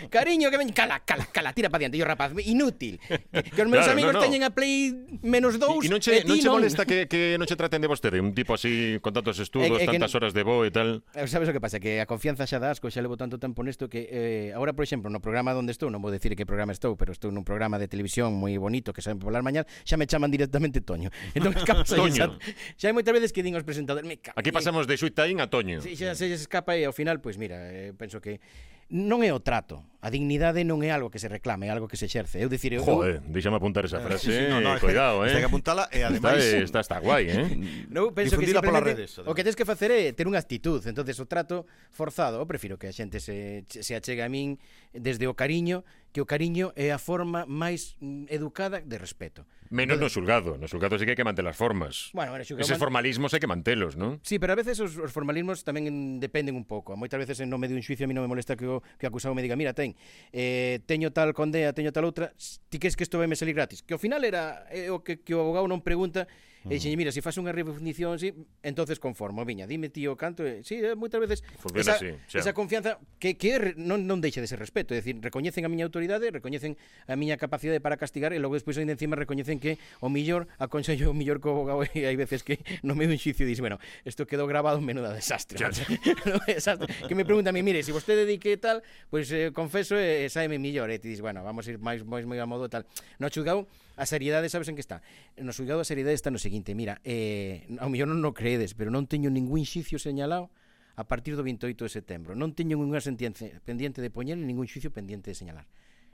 E: cariño, que ven, cala, cala, cala, tira para diante. E o rapaz, inútil. Que, que os meus
A: Claro,
E: amigos
A: no, no.
E: teñen a Play menos 2
A: E non che,
E: e ti
A: non che molesta que, que non che traten de vostede Un tipo así, con tantos estudos,
E: É- é que
A: tantas
E: non-
A: horas de voo e tal
E: Eh, Sabes o que pasa? Que a confianza xa das, que xa levo tanto tempo nesto que eh, ahora, por exemplo, no programa onde estou, non vou decir que programa estou, pero estou nun programa de televisión moi bonito que saben polas mañás, xa me chaman directamente Toño. Entón, escapa xa,
A: Toño.
E: xa, xa hai moitas veces que din aos presentadores, me cago.
A: Aquí pasamos de Xuitaín a Toño
E: Sí, xa, se lles escapa e ao final, pois mira, eh, penso que non é o trato. A dignidade non é algo que se reclame, é algo que se xerce. Eu dicir, eu,
A: Joder, déixame apuntar
B: eh,
A: esa frase
B: é-
A: Cuidado, eh
B: Ten que apuntala e
A: Está,
B: ademais
A: eh, está, está guai, eh
E: No, penso que
B: Difundila polas
E: simplemente
B: redes, ademais.
E: o que tens que facer é ter unha actitud, entonces o trato forzado, eu prefiro que a xente se se achegue a min desde o cariño, que o cariño é a forma máis mm, educada de respeto.
A: Menos no xulgado No xulgado sí que hai que manter as formas
E: Bueno, bueno, xulgado
A: Eses
E: man-
A: formalismos hai que mantelos, non?
E: Sí, pero a veces os, os formalismos tamén dependen un pouco. Moitas veces en nome de un xuicio a mí non me molesta que o, que o acusado me diga mira, ten, eh, teño tal condea, teño tal outra, s- ti crees que isto vai me salir gratis? Que ao final era eh, o que, que o abogado non pregunta e dixen, mira, se faz unha refundición, sí, entonces conformo, viña, dime tío canto, e, sí, eh, moitas veces
A: Funciona
E: esa,
A: así, xa.
E: esa confianza que, que é re- non, non deixa de ser respeto, é dicir, recoñecen a miña autoridade, recoñecen a miña capacidade para castigar e logo despois ainda encima recoñecen que o millor aconsello o millor co abogado e hai veces que no medio un xuicio dis, bueno, isto quedou grabado en menuda desastre.
A: Xa,
E: macho". Menuda desastre. que me pregunta a mí, mire, se si vostede di que tal, pois pues, eh, confeso e eh, saeme millor, e ti dis, bueno, vamos a ir máis máis moi a modo tal. No xulgado a seriedade sabes en que está. No xulgado a seriedade está no seguinte, mira, eh, ao millor non o creedes, pero non teño ningún xicio señalado a partir do 28 de setembro. Non teño ninguna sentencia pendiente de poñer, nin ningún xuicio pendiente de señalar.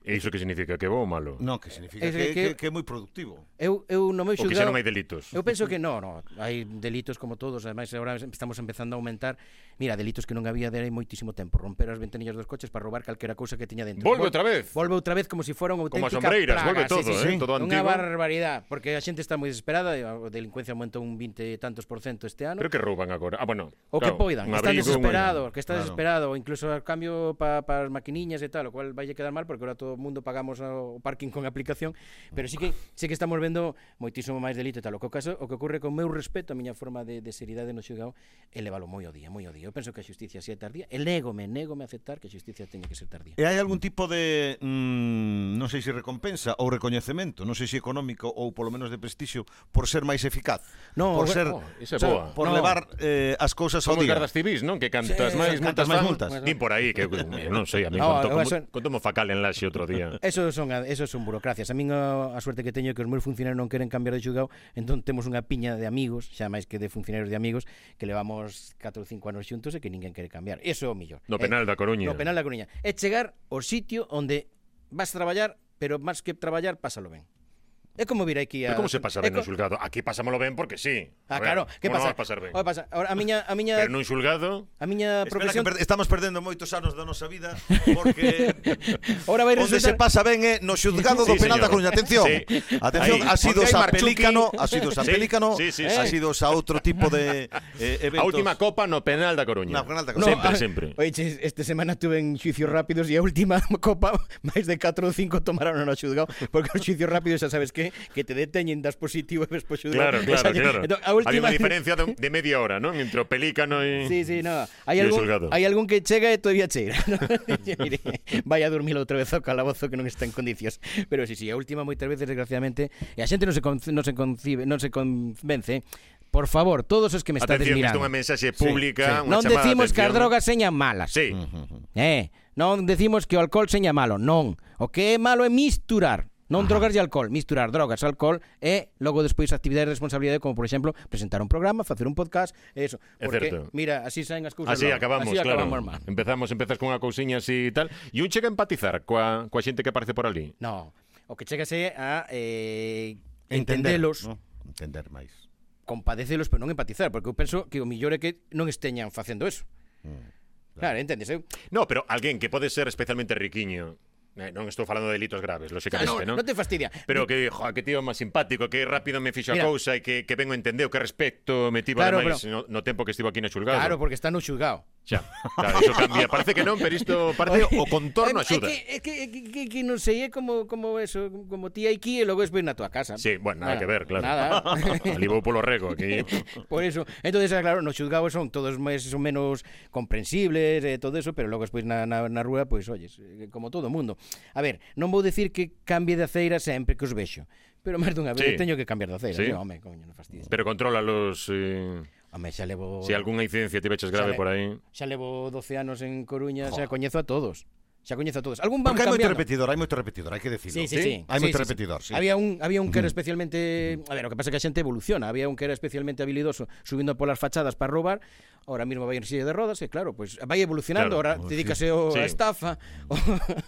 A: E iso que significa que bo ou malo?
B: No, que significa
E: Es
B: que,
E: que-
B: que, que é moi productivo.
E: Eu, eu no meu
A: Ou que xa
E: xulgado...
A: non hai delitos
E: Eu penso que no, no, hai delitos como todos, ademais agora estamos empezando a aumentar, mira, delitos que non había de hai moitísimo tempo, romper as ventanillas dos coches para roubar calquera cousa que tiña dentro.
A: Volve
E: Vol-
A: outra vez.
E: Volve outra vez como se si fora unha
A: Como as
E: auténtica
A: ombreiras,
E: plaga.
A: volve todo,
E: sí, sí,
A: eh,
E: sí.
A: todo
E: Unha
A: antigo.
E: barbaridade, porque a xente está moi desesperada, e a delincuencia aumentou un 20 e tantos por cento este ano.
A: Creo que rouban agora Ah, bueno
E: O que
A: claro, un
E: poidan, que están
A: abrigo, un-
E: desesperados, que está
B: Claro.
E: desesperado, o incluso a cambio para pa as maquiniñas e tal, o cual vai quedar mal porque ahora todo o mundo pagamos o parking con aplicación, pero sí que sí que estamos vendo moitísimo máis delito e tal. O que, caso, o que ocurre con meu respeto, a miña forma de, de seriedade no xulgado, é leválo moi o día, moi o día. Eu penso que a xusticia si é tardía, e négome, négome a aceptar que a xusticia teña que ser tardía.
B: E hai algún tipo de, mm, non sei se recompensa ou recoñecemento, non sei se económico ou polo menos de prestixio por ser máis eficaz,
E: No,
B: por
E: o-
B: ser
E: oh,
A: esa é
B: sabe,
A: boa.
B: por
E: No.
B: levar eh, as cousas ao
A: Somos
B: día.
A: gardas civís, non? Que cantas
E: Sí,
A: máis, multas
B: cantas máis
A: fan.
B: multas.
A: Din por aí, que eu non sei, a mí
E: No,
A: conto,
E: eu
A: como,
E: son-
A: conto mo facal en Laxe outro día.
E: Eso son a- eso son burocracias. A min a, a suerte que teño é que os meus funcionarios non queren cambiar de xulgado, entón temos unha piña de amigos, xa máis que de funcionarios de amigos, que levamos 4 ou 5 anos xuntos e que ninguén quere cambiar. Eso é o millor.
A: No penal da Coruña.
E: Eh, No penal da Coruña. É chegar ao sitio onde vas a traballar, pero máis que traballar, pásalo ben. É como vir aquí a...
A: Pero como se pasa
E: é
A: ben nun
E: co-
A: xulgado? Aquí pasámolo ben porque sí.
E: Ah, claro, que
A: como Non
E: pasa?
A: vas pasar ben.
E: Oye, pasa? Ahora, a miña, a miña,
A: Pero nun xulgado,
E: a
B: Espera
E: miña
B: que
E: profesión...
B: per- estamos perdendo moitos anos da nosa vida porque
E: Ahora vai
B: onde se
E: resultar...
B: pasa ben é no xuzgado do
A: Sí,
B: penal
A: señor.
B: da Coruña. Atención.
A: Sí.
B: Atención,
A: Aí.
B: ha
A: Onde
B: sido
A: hai
B: xa
A: Marchuki.
B: pelícano, ha sido xa
A: Sí,
B: pelícano,
A: sí, sí,
B: ha
A: sí.
B: sido xa outro tipo de eh,
A: a
B: eventos.
A: última copa no penal da Coruña.
B: Na penal da
E: No,
B: Coruña.
A: Sempre,
E: a-
A: sempre.
E: Oye, che, esta semana tuve en xuicios rápidos e a última copa máis de 4 ou 5 tomaron no xuzgado porque os xuicios rápidos xa sabes que que te deteñen das positivo e ves po xuzgado.
A: Claro, claro,
E: Esa-
A: claro.
E: Entón, a
A: Había unha
E: última
A: diferencia de, de media hora, non? Entre o pelícano e...
E: Sí, sí, no.
A: E o
E: Hai algún,
A: xulgado.
E: hai algún que chega e todavía cheira. ¿no? Mire, vai a dormir outra vez ao calabozo que non está en condicións. Pero sí, sí, a última moitas veces desgraciadamente e a xente non se con, non se concibe, non se convence. eh. Por favor, todos os que me estades
A: Atención, isto é
E: mirando.
A: unha mensaxe pública, unha
E: Non
A: chamada de
E: decimos que as
A: atención.
E: drogas señan malas.
A: Sí,
E: Eh, non decimos que o alcohol seña malo, non. O que é malo é misturar. Non drogas e alcohol, misturar drogas, alcohol e logo despois actividades de responsabilidade como por exemplo presentar un programa, facer un podcast, e eso,
A: É
E: porque
A: certo.
E: mira, así saen as cousas.
A: así
E: logo.
A: acabamos,
E: así
A: claro.
E: acabamos mal.
A: Empezamos, empezas cunha cousiña así e tal. E un chega a empatizar coa, coa xente que aparece por ali.
E: No, o que chegase a eh,
B: Entender,
E: entendelos,
B: ¿no? Entender máis.
E: compadecelos, pero non empatizar, porque eu penso que o millor é que non esteñan
B: Mm,
E: facendo eso. Claro, entendes? Eu,
A: No, pero alguén que pode ser especialmente riquiño Eh, non estou falando de delitos graves,
E: No,
A: lóxicamente,
E: Ah, no,
A: non?
E: te fastidia.
A: Pero que, jo, que tío máis simpático, que rápido me fixo a
E: Mira.
A: cousa e que, que vengo entendeu, que respecto me tivo
E: Claro,
A: claro, ademais no, no tempo que estivo aquí no xulgado.
E: Claro, porque está no xulgado.
A: Xa, claro, iso cambia. Parece que non, pero isto parece
E: Oye,
A: o contorno
E: é-
A: axuda.
E: É que, é que, é que, que, que non sei, é como, como eso, como ti aquí e logo es ven na tua casa.
A: Sí, bueno, nada que ver, claro.
E: Nada.
A: Alivou polo rego aquí.
E: Por eso, entonces ah, claro, nos xulgados son todos máis ou menos comprensibles e eh, todo eso, pero logo despois na, na, na rúa, pois, olles, eh, como todo o mundo. A ver, non vou decir que cambie de aceira sempre que os vexo, pero máis dunha
A: Sí.
E: vez sí. teño que cambiar de aceira,
A: Sí.
E: sí. home, coño, non fastidies.
A: Pero controla los... Eh,
E: Home, xa levo
A: si algunha incidencia tiveches grave
E: Sabe.
A: por aí...
E: xa levo 12 anos en Coruña,
B: Jo.
E: xa coñezo a todos. Xa coñezo a todos. Algún van
B: Porque hai moito
E: cambiando.
B: repetidor, hai moito repetidor, hai que decirlo.
E: Sí, sí, sí.
B: Hai
E: Sí,
B: moito
E: sí, sí.
B: repetidor, sí.
E: Había un había un que era especialmente, a ver, o que pasa é que a xente evoluciona, había un que era especialmente habilidoso subindo polas fachadas para roubar, ahora mismo vai en silla de rodas e claro, pois pues, vai evolucionando,
A: Claro.
E: ahora dedícase ao
A: Sí.
E: a estafa, o,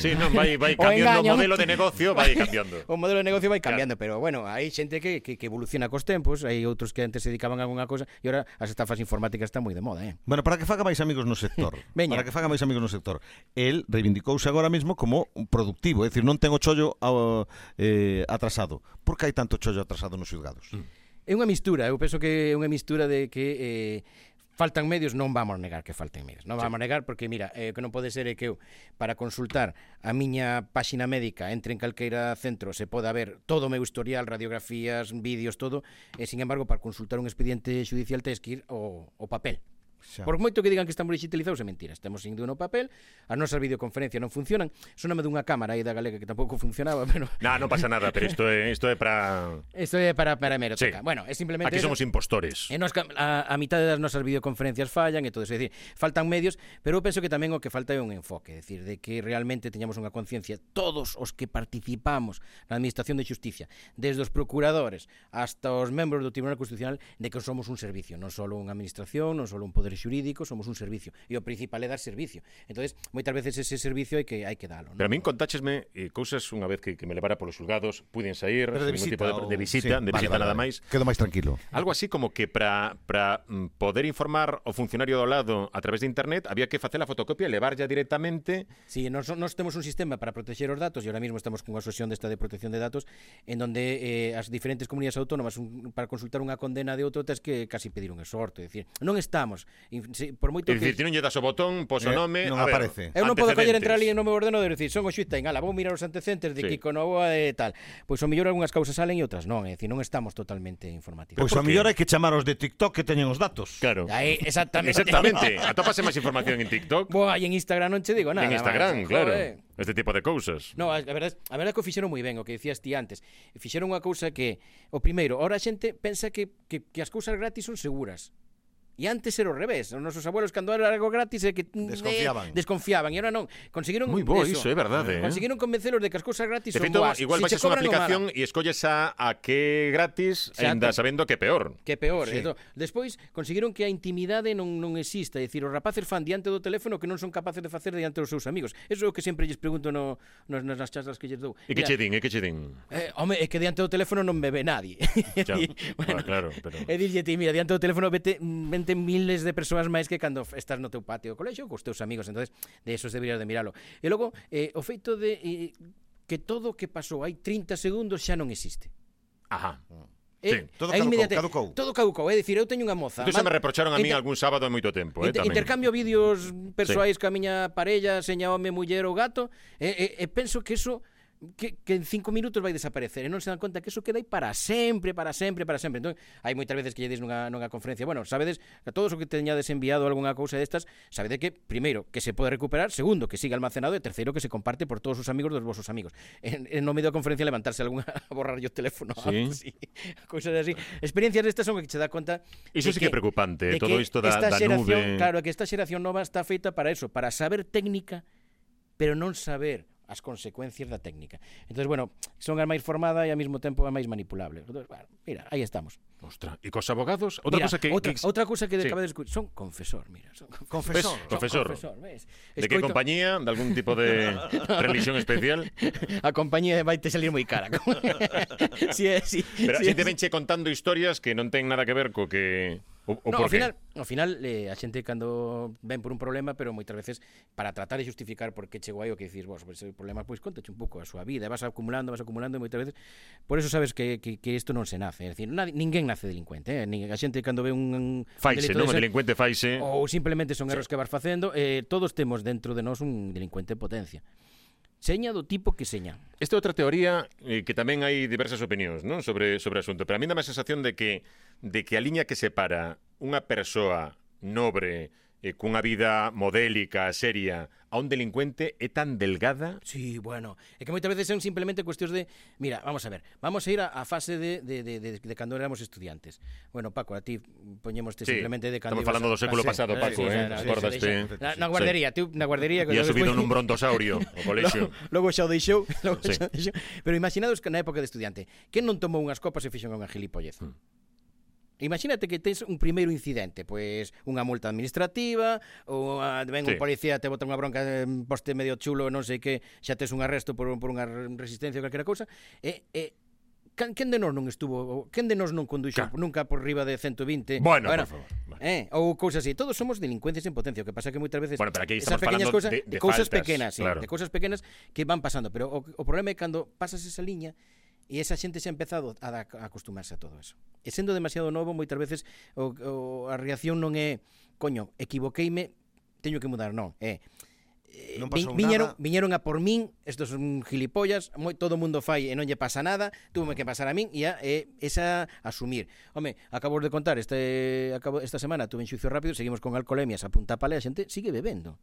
A: Sí, non, vai, vai
E: O
A: cambiando o
E: engaño.
A: modelo de negocio, vai cambiando.
E: o modelo de negocio vai cambiando, pero bueno, hai xente que, que, que evoluciona cos tempos, hai outros que antes se dedicaban a unha cosa e ahora as estafas informáticas están moi de moda, eh.
B: Bueno, para que faga máis amigos no sector.
E: Veña.
B: Para que faga máis amigos no sector. El reivindicouse agora mesmo como un productivo, é dicir, non ten o chollo ao, eh, atrasado. Por que hai tanto chollo atrasado nos xulgados?
A: Mm.
E: É unha mistura, eu penso que é unha mistura de que eh, faltan medios, non vamos negar que falten medios, non vamos negar porque mira, eh, o que non pode ser é que eu para consultar a miña páxina médica entre en calqueira centro se poda ver todo o meu historial, radiografías, vídeos, todo, e sin embargo para consultar un expediente judicial tes que ir o, o papel.
B: Xa.
E: Por moito que digan que estamos digitalizados, é mentira. Estamos sin dúo no papel, as nosas videoconferencias non funcionan. Soname dunha cámara aí da galega que tampouco funcionaba, pero...
A: Nah, non pasa nada, pero isto é, isto é para...
E: Isto é para, para
A: Sí.
E: hemeroteca. Bueno, é simplemente...
A: Aquí
E: eso.
A: somos impostores.
E: E nos, cam- a, a mitad das nosas videoconferencias fallan e todo eso, é dicir, faltan medios, pero eu penso que tamén o que falta é un enfoque, é dicir, de que realmente teñamos unha conciencia todos os que participamos na administración de justicia, desde os procuradores hasta os membros do Tribunal Constitucional, de que somos un servicio, non só unha administración, non só un poder xurídico, somos un servicio, e o principal é dar servicio. Entonces, moitas veces ese servicio hai que hai que dalo,
A: Pero a
E: non?
A: min contáchesme eh, cousas unha vez que, que me levara polos xulgados, puden sair, sin
B: Pero de
A: ningún
B: visita,
A: tipo de,
B: ou-
A: de visita,
B: sí,
A: de
B: vale,
A: visita nada
B: vale, vale.
A: máis.
B: Quedo máis tranquilo.
A: Algo así como que para para mm, poder informar o funcionario do lado a través de internet había que facer a fotocopia e levarlla directamente
E: Sí, nos, nos temos un sistema para protexer os datos e ahora mismo estamos cunha asociación desta de protección de datos en donde eh, as diferentes comunidades autónomas un, para consultar unha condena de outro tes que casi pedir un exhorto, é dicir, non estamos in- se, por moito
A: É dicir, ti
E: que
A: non lle das o botón, pos o
B: Eh,
A: nome,
B: non
A: a ver,
B: aparece.
E: Eu non podo coller entrar ali
A: antecedentes.
E: no meu ordenador e dicir, son o xuiz ten, ala, vou mirar os antecedentes de
A: Sí.
E: sí. Kiko Novoa e tal. Pois o mellor algunhas causas salen e outras non, é dicir, non estamos totalmente informativos.
B: Pois
A: por
B: ao
A: que?
B: mellor hai que chamar os de TikTok que teñen os datos.
A: Claro.
E: Aí, exactamente.
A: Exactamente. Atópase máis información en TikTok,
E: Boa, e en Instagram non che digo nada.
A: en Instagram,
E: máis.
A: claro.
E: Joder.
A: Este tipo de cousas.
E: No, a, a verdade, a verdade é que o fixeron moi ben, o que dicías ti antes. Fixeron unha cousa que, o primeiro, ahora a xente pensa que, que, que as cousas gratis son seguras. E antes era o revés. Os nosos abuelos, cando era algo gratis, é que
B: Desconfiaban.
E: eh, desconfiaban. E ahora non. Conseguiron
A: Moi bo iso,
E: eso.
A: é verdade, eh?
E: Conseguiron convencelos de que as cousas gratis
A: De
E: son
A: feito,
E: boas.
A: igual
E: se
A: baixas
E: che
A: unha
E: cobran,
A: aplicación
E: non
A: e escolles a, a que gratis,
E: Exacto.
A: ainda sabendo que é peor.
E: Que é peor.
B: Sí.
E: Sí. Despois conseguiron que a intimidade non non exista, é dicir, os rapaces fan diante do teléfono o que non son capaces de facer diante dos seus amigos. Eso é o que sempre lles pregunto no, nos, nas nas charlas que lles dou.
A: E que
E: Mira,
A: che din, e que che din.
E: Eh, home, é que diante do teléfono non me ve nadie.
A: Xa, ah, claro, pero-
E: É dille ti, mira, diante do teléfono vete, mm, vente miles de persoas máis que cando f- estás no teu patio do colexio cos teus amigos, entonces de esos deberías de miralo. E logo, eh, o feito de eh, que todo o que pasou hai 30 segundos xa non existe.
A: Ajá.
E: Eh,
B: Sí, todo
E: hai
B: caducou,
E: inmediate-
B: caducou. Entón
E: Todo caducou, é dicir, eu teño unha moza.
A: Isto xa
E: man-
A: me reprocharon a min
E: Inter-
A: algún sábado hai moito tempo, eh,
E: Inter
A: tamén.
E: intercambio vídeos persoais sí. ca miña parella, seña home, muller ou gato, e, e, e penso que eso que, que en cinco minutos vai desaparecer e non se dan conta que eso queda aí para sempre, para sempre, para sempre. Entón, hai moitas veces que lle dis nunha, nunha conferencia, bueno, sabedes, a todos o que teñades enviado algunha cousa destas, sabedes que, primeiro, que se pode recuperar, segundo, que siga almacenado e terceiro, que se comparte por todos os amigos dos vosos amigos. En, en no medio da conferencia levantarse algunha a borrar yo o teléfono.
A: Sí.
E: sí. Cousas así. Experiencias destas son que che dá conta
A: Iso
E: de
A: sí que é preocupante,
E: de
A: todo
E: que
A: isto da-
E: esta
A: da
E: xeración,
A: nube.
E: Claro, que esta xeración nova está feita para eso, para saber técnica, pero non saber as consecuencias da técnica. Entón, bueno, son a máis formada e ao mesmo tempo a máis manipulable. Entón, bueno, mira, aí estamos.
A: Ostra, e cos abogados, outra
E: mira,
A: cosa que,
E: outra, Oh,
A: que
E: outra cousa que
A: Sí.
E: acabas de escuchar, son confesor, mira, son confesor.
A: ves,
B: Confesor.
A: profesor,
E: Confesor, ves?
A: de que
E: Escoito-
A: compañía, de algún tipo de religión especial,
E: A compañía vai te salir moi cara. si é, si,
A: pero
E: si
A: así te venche contando historias que non ten nada que ver co que O, o
E: no,
A: por
E: ao
A: qué?
E: final, ao final eh, a xente cando ven por un problema, pero moitas veces para tratar de justificar por que chegou aí o que dicir vos, pois ese problema, pois contache un pouco a súa vida, e vas acumulando, vas acumulando e moitas veces. Por eso sabes que que, que isto non se nace, é dicir, nadie, ninguén nace delincuente, eh? Ni, a xente cando ve un, un
A: Faise,
E: delito
A: non?
E: Oh.
A: O
E: dese-
A: delincuente faise.
E: ou simplemente
A: Sí.
E: son erros que vas facendo, eh, todos temos dentro de nós un delincuente en potencia. Seña do tipo que seña.
A: Esta é outra teoría eh, que tamén hai diversas opinións non sobre sobre o asunto, pero a mí dá a sensación de que de que a liña que separa unha persoa nobre eh, cunha vida modélica, seria, a un delincuente é tan delgada
E: Sí, bueno, é que moitas veces son simplemente cuestións de, mira, vamos a ver, vamos a ir a, a fase de, de, de, de, de cando éramos estudiantes. Bueno, Paco, a ti poñémoste
A: Sí,
E: simplemente de cando
A: estamos falando do século pasado, Paco, eh, acordaste?
E: Na, na guardería, ti na guardería
A: e ha subido
E: despois-
A: nun brontosaurio ao colexo.
E: Logo xa o deixou, logo
A: Sí.
E: xa o deixou. Pero imaginados que na época de estudiante, que non tomou unhas copas e fixo unha gilipollez.
A: Hmm.
E: Mm. Imagínate que tens un primeiro incidente, pois unha multa administrativa, ou a, ven
A: Sí.
E: sí. un policía te bota unha bronca en poste medio chulo, non sei que, xa tes un arresto por, un- por unha resistencia ou calquera cousa, e, e can, quen de nós non estuvo, ou quen de nós non conduixo
A: Ca-
E: nunca por riba de 120?
A: Bueno, por favor, vale.
E: Eh, ou cousas así, todos somos delincuentes en potencia, o que pasa que moitas veces
A: Bueno, pero aquí
E: esas
A: estamos
E: pequeñas
A: falando
E: cousas,
A: de- de
E: cousas
A: faltas,
E: pequenas, sí,
A: claro.
E: de cousas pequenas que van pasando, pero o, o problema é cando pasas esa liña e esa xente se ha empezado a, da- a acostumarse a todo eso. E sendo demasiado novo, moitas veces o, o, a reacción non é, coño, equivoqueime, teño que mudar, non, é eh,
B: Non pasou
E: vin- viñeron,
B: nada.
E: viñeron a por min, estos son gilipollas, moi, todo o mundo fai e non lle pasa nada, tuve que pasar a min e a, eh, esa asumir. Home, acabo de contar, este, acabo, esta semana tuve en xuicio rápido, seguimos con alcoholemias a punta pala e a xente sigue bebendo.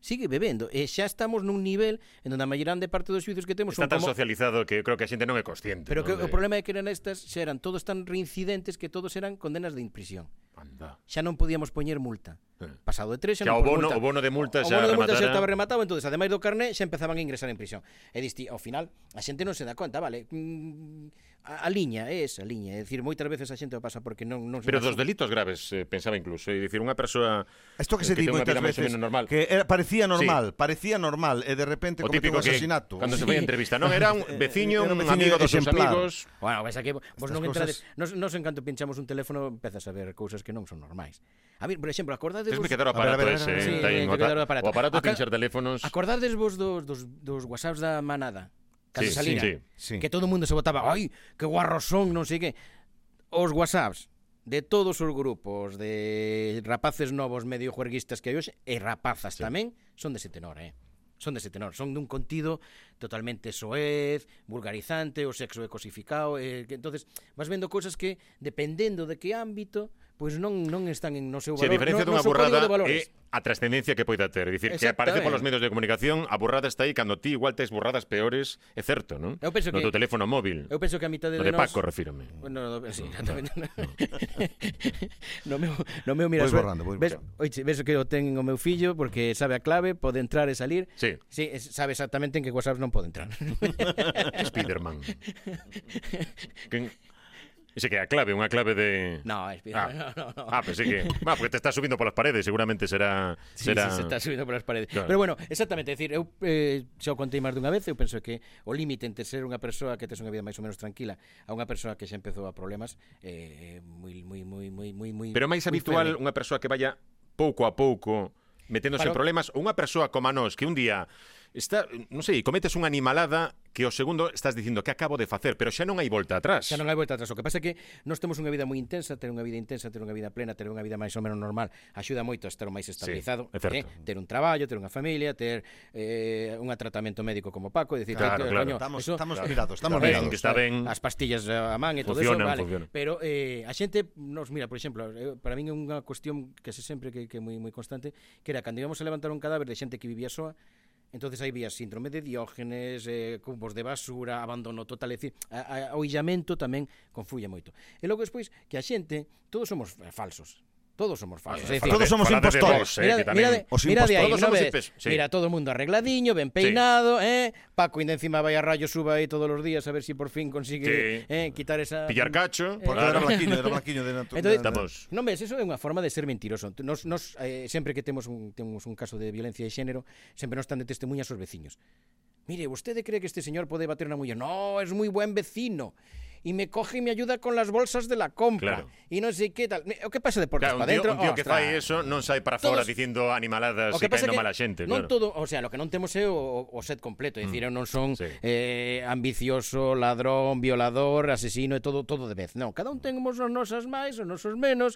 E: Sigue bebendo e xa estamos nun nivel en onde a maioría de parte dos xuicios que temos
A: Está
E: son
A: tan
E: como
A: socializado que eu creo que a xente non é consciente.
E: Pero que
A: non, de-
E: o problema é que eran estas, xa eran todos tan reincidentes que todos eran condenas de imprisión.
A: Anda.
E: Xa non podíamos poñer multa.
A: Eh.
E: Pasado de tres,
A: Xa
E: xa, non
A: o
E: pon
A: bono-
E: multa.
A: o bono de multa
E: o
A: xa
E: bono de multa xa
A: rematara.
E: estaba rematado, entonces ademais do carné xa empezaban a ingresar en prisión. E diste, ao final, a xente non se dá conta, vale? Mm, A, a liña é esa liña, é dicir, moitas veces a xente o pasa porque non non
A: eh,
E: se
A: Pero
E: dá
A: dos
E: conta.
A: delitos graves, eh, pensaba incluso, é dicir, unha persoa
B: Isto que
A: eh,
B: se di
A: ten unha
B: moitas
A: vida máis ou
B: veces
A: menos normal.
B: que era, parecía normal, parecía normal e de repente
A: O
B: comete
A: típico
B: un
A: que
B: asesinato.
A: cando se foi a entrevista, non era un
E: Eh,
A: veciño,
B: Era
A: un
B: un veciño
A: amigo dos seus
B: exemplar.
A: amigos,
E: Bueno, ves aquí, vos
B: Estas
E: non entrades,
B: cousas-
E: nos, nos en canto pinchamos un teléfono empezas a ver cousas que non son normais. A ver, por exemplo, acordades
A: Tens
E: vos...
A: me quedar o
B: A ver, a
A: aparato
B: ver, a
A: ese,
B: ver,
A: eh,
B: sí,
A: está aí,
E: hai
A: o apa-
E: que quedar o aparato.
A: O aparato de
E: Acá-
A: pinchar teléfonos.
E: Acordades vos dos, dos, dos whatsapps da manada Cando
A: Sí,
E: salían
A: sí,
B: sí.
E: Que todo o mundo se votaba Ai, que guarros son, non sei que Os whatsapps de todos os grupos De rapaces novos medio juerguistas que hai hoxe E rapazas sí. tamén Son de ese tenor, eh Son de ese tenor, son dun contido totalmente soez, vulgarizante, o sexo é cosificado, eh, que entonces vas vendo cousas que dependendo de que ámbito, pois non non están en no seu
A: Si a
E: valor,
A: diferencia
E: non,
A: dunha
E: non son código
A: burrada
E: de valores.
A: é a trascendencia que poida ter, é dicir, que aparece
E: Exactamente.
A: polos medios de comunicación, a burrada está aí cando ti igual tes burradas peores, é certo, non?
E: Eu penso
A: no
E: que-
A: teu teléfono móvil.
E: Eu penso que a mitad de,
A: O de
E: nós-
A: Paco, refírome.
E: Bueno, no, no, sí, exactamente. no meu, no meu
B: Voy
E: mira suerte.
B: borrando, voy
E: ves,
B: borrando.
E: oiche, ves que o ten o meu fillo porque sabe a clave, pode entrar e salir.
A: Sí.
E: Sí, es- sabe exactamente en que WhatsApp non pode entrar.
A: Spiderman. que... Ese que é a clave, unha clave de...
E: no, es,
A: Ah.
E: no, no, no.
A: Ah, pensei que... Ah, porque te está subindo polas paredes, seguramente será...
E: Sí,
A: será...
E: sí, se está subindo polas paredes.
A: Claro.
E: Pero bueno, exactamente, é dicir, eu eh, xa o contei máis dunha vez, eu penso que o límite entre ser unha persoa que tes unha vida máis ou menos tranquila a unha persoa que xa empezou a problemas é eh, moi moi moi moi moi moi
A: Pero é máis
E: moi
A: habitual
E: feble.
A: unha persoa que vaya pouco a pouco meténdose en
E: Claro.
A: problemas ou unha persoa como a nós que un día está, non sei, cometes unha animalada que o segundo estás dicindo que acabo de facer, pero xa non hai volta atrás.
E: Xa non hai volta atrás. O que pasa é que nós temos unha vida moi intensa, ter unha vida intensa, ter unha vida plena, ter unha vida máis ou menos normal, axuda moito a estar o máis estabilizado,
A: Sí, é certo.
E: eh? ter un traballo, ter unha familia, ter eh, un tratamento médico como Paco, é dicir,
A: Claro,
E: eh,
A: claro.
E: coño,
B: Estamos,
E: eso,
B: estamos mirados, estamos
A: Está ben,
B: mirados.
A: que está ben.
E: As pastillas eh, a man e todo
A: Funcionan,
E: eso, vale.
A: funcionan.
E: Pero eh, a xente nos mira, por exemplo, eh, para min é unha cuestión que se sempre que que é moi moi constante, que era cando íbamos a levantar un cadáver de xente que vivía soa, entonces aí vías síndrome de diógenes, eh, cubos de basura, abandono total, é dicir, a, a, o illamento tamén confluye moito. E logo despois que a xente, todos somos eh, falsos. Todos somos falsos,
A: Ah,
E: é dicir,
B: Todos somos
A: falade de
B: impostores.
A: vos, eh,
E: Mira,
A: que tamén-
E: mira, de,
B: Os
E: mira de aí,
A: impostores
E: non
A: somos
E: ves?
A: impes- sí.
E: mira todo o mundo arregladiño, ben peinado, eh? Paco ainda encima vai a rayo suba aí todos os días a ver se si por fin consigue
A: Sí.
E: eh, quitar esa
A: Pillar
E: Eh,
A: cacho,
B: Porque
A: claro.
B: era blanquiño, era blanquiño de natu-
E: Entonces-
B: na- na-
A: Estamos.
E: Non ves, eso é unha forma de ser mentiroso. Nos, nos eh, sempre que temos un, temos un caso de violencia de xénero, sempre nos están de testemunhas os veciños. Mire, vostede cree que este señor pode bater na muller? No, es moi buen vecino. e me coge e me ayuda con las bolsas de la compra.
A: Claro.
E: E non sei que tal. Me- O que pasa de portas
A: Claro, un
E: para
A: tío,
E: dentro?
A: un tío que
E: ostras.
A: fai eso non sai para fora
E: Todos-
A: dicindo animaladas e
E: O que pasa
A: caendo
E: que
A: mala xente,
E: non
A: claro. Mm,
E: todo, o sea, lo que non temos é o, o set completo, é dicir, eu non son
A: Sí.
E: eh, ambicioso, ladrón, violador, asesino e todo todo de vez. Non, cada un temos as nosas máis, os nosos menos.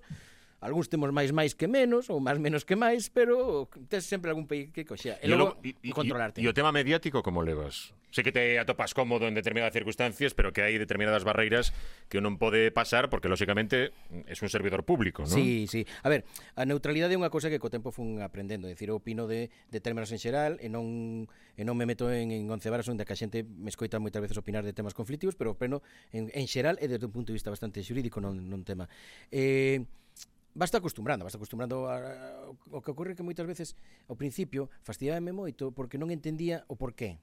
E: Algúns temos máis máis que menos ou máis menos que máis, pero tes sempre algún pei que coxea. E
A: E o lo-
E: logo
A: y- y-
E: controlarte.
A: E o tema mediático como levas? Sé que te atopas cómodo en determinadas circunstancias, pero que hai determinadas barreiras que non pode pasar porque, lóxicamente, es un servidor público, non?
E: Sí, sí. A ver, a neutralidade é unha cousa que co tempo fun aprendendo, é dicir, eu opino de, de términos en xeral e non e non me meto en, en oncevaras onde que a xente me escoita moitas veces opinar de temas conflictivos, pero opino en, en xeral e desde un punto de vista bastante xurídico non, non tema. Eh, Basta acostumbrando, basta acostumbrando a, a, o que ocorre que moitas veces ao principio fastidiábame moito porque non entendía o porqué.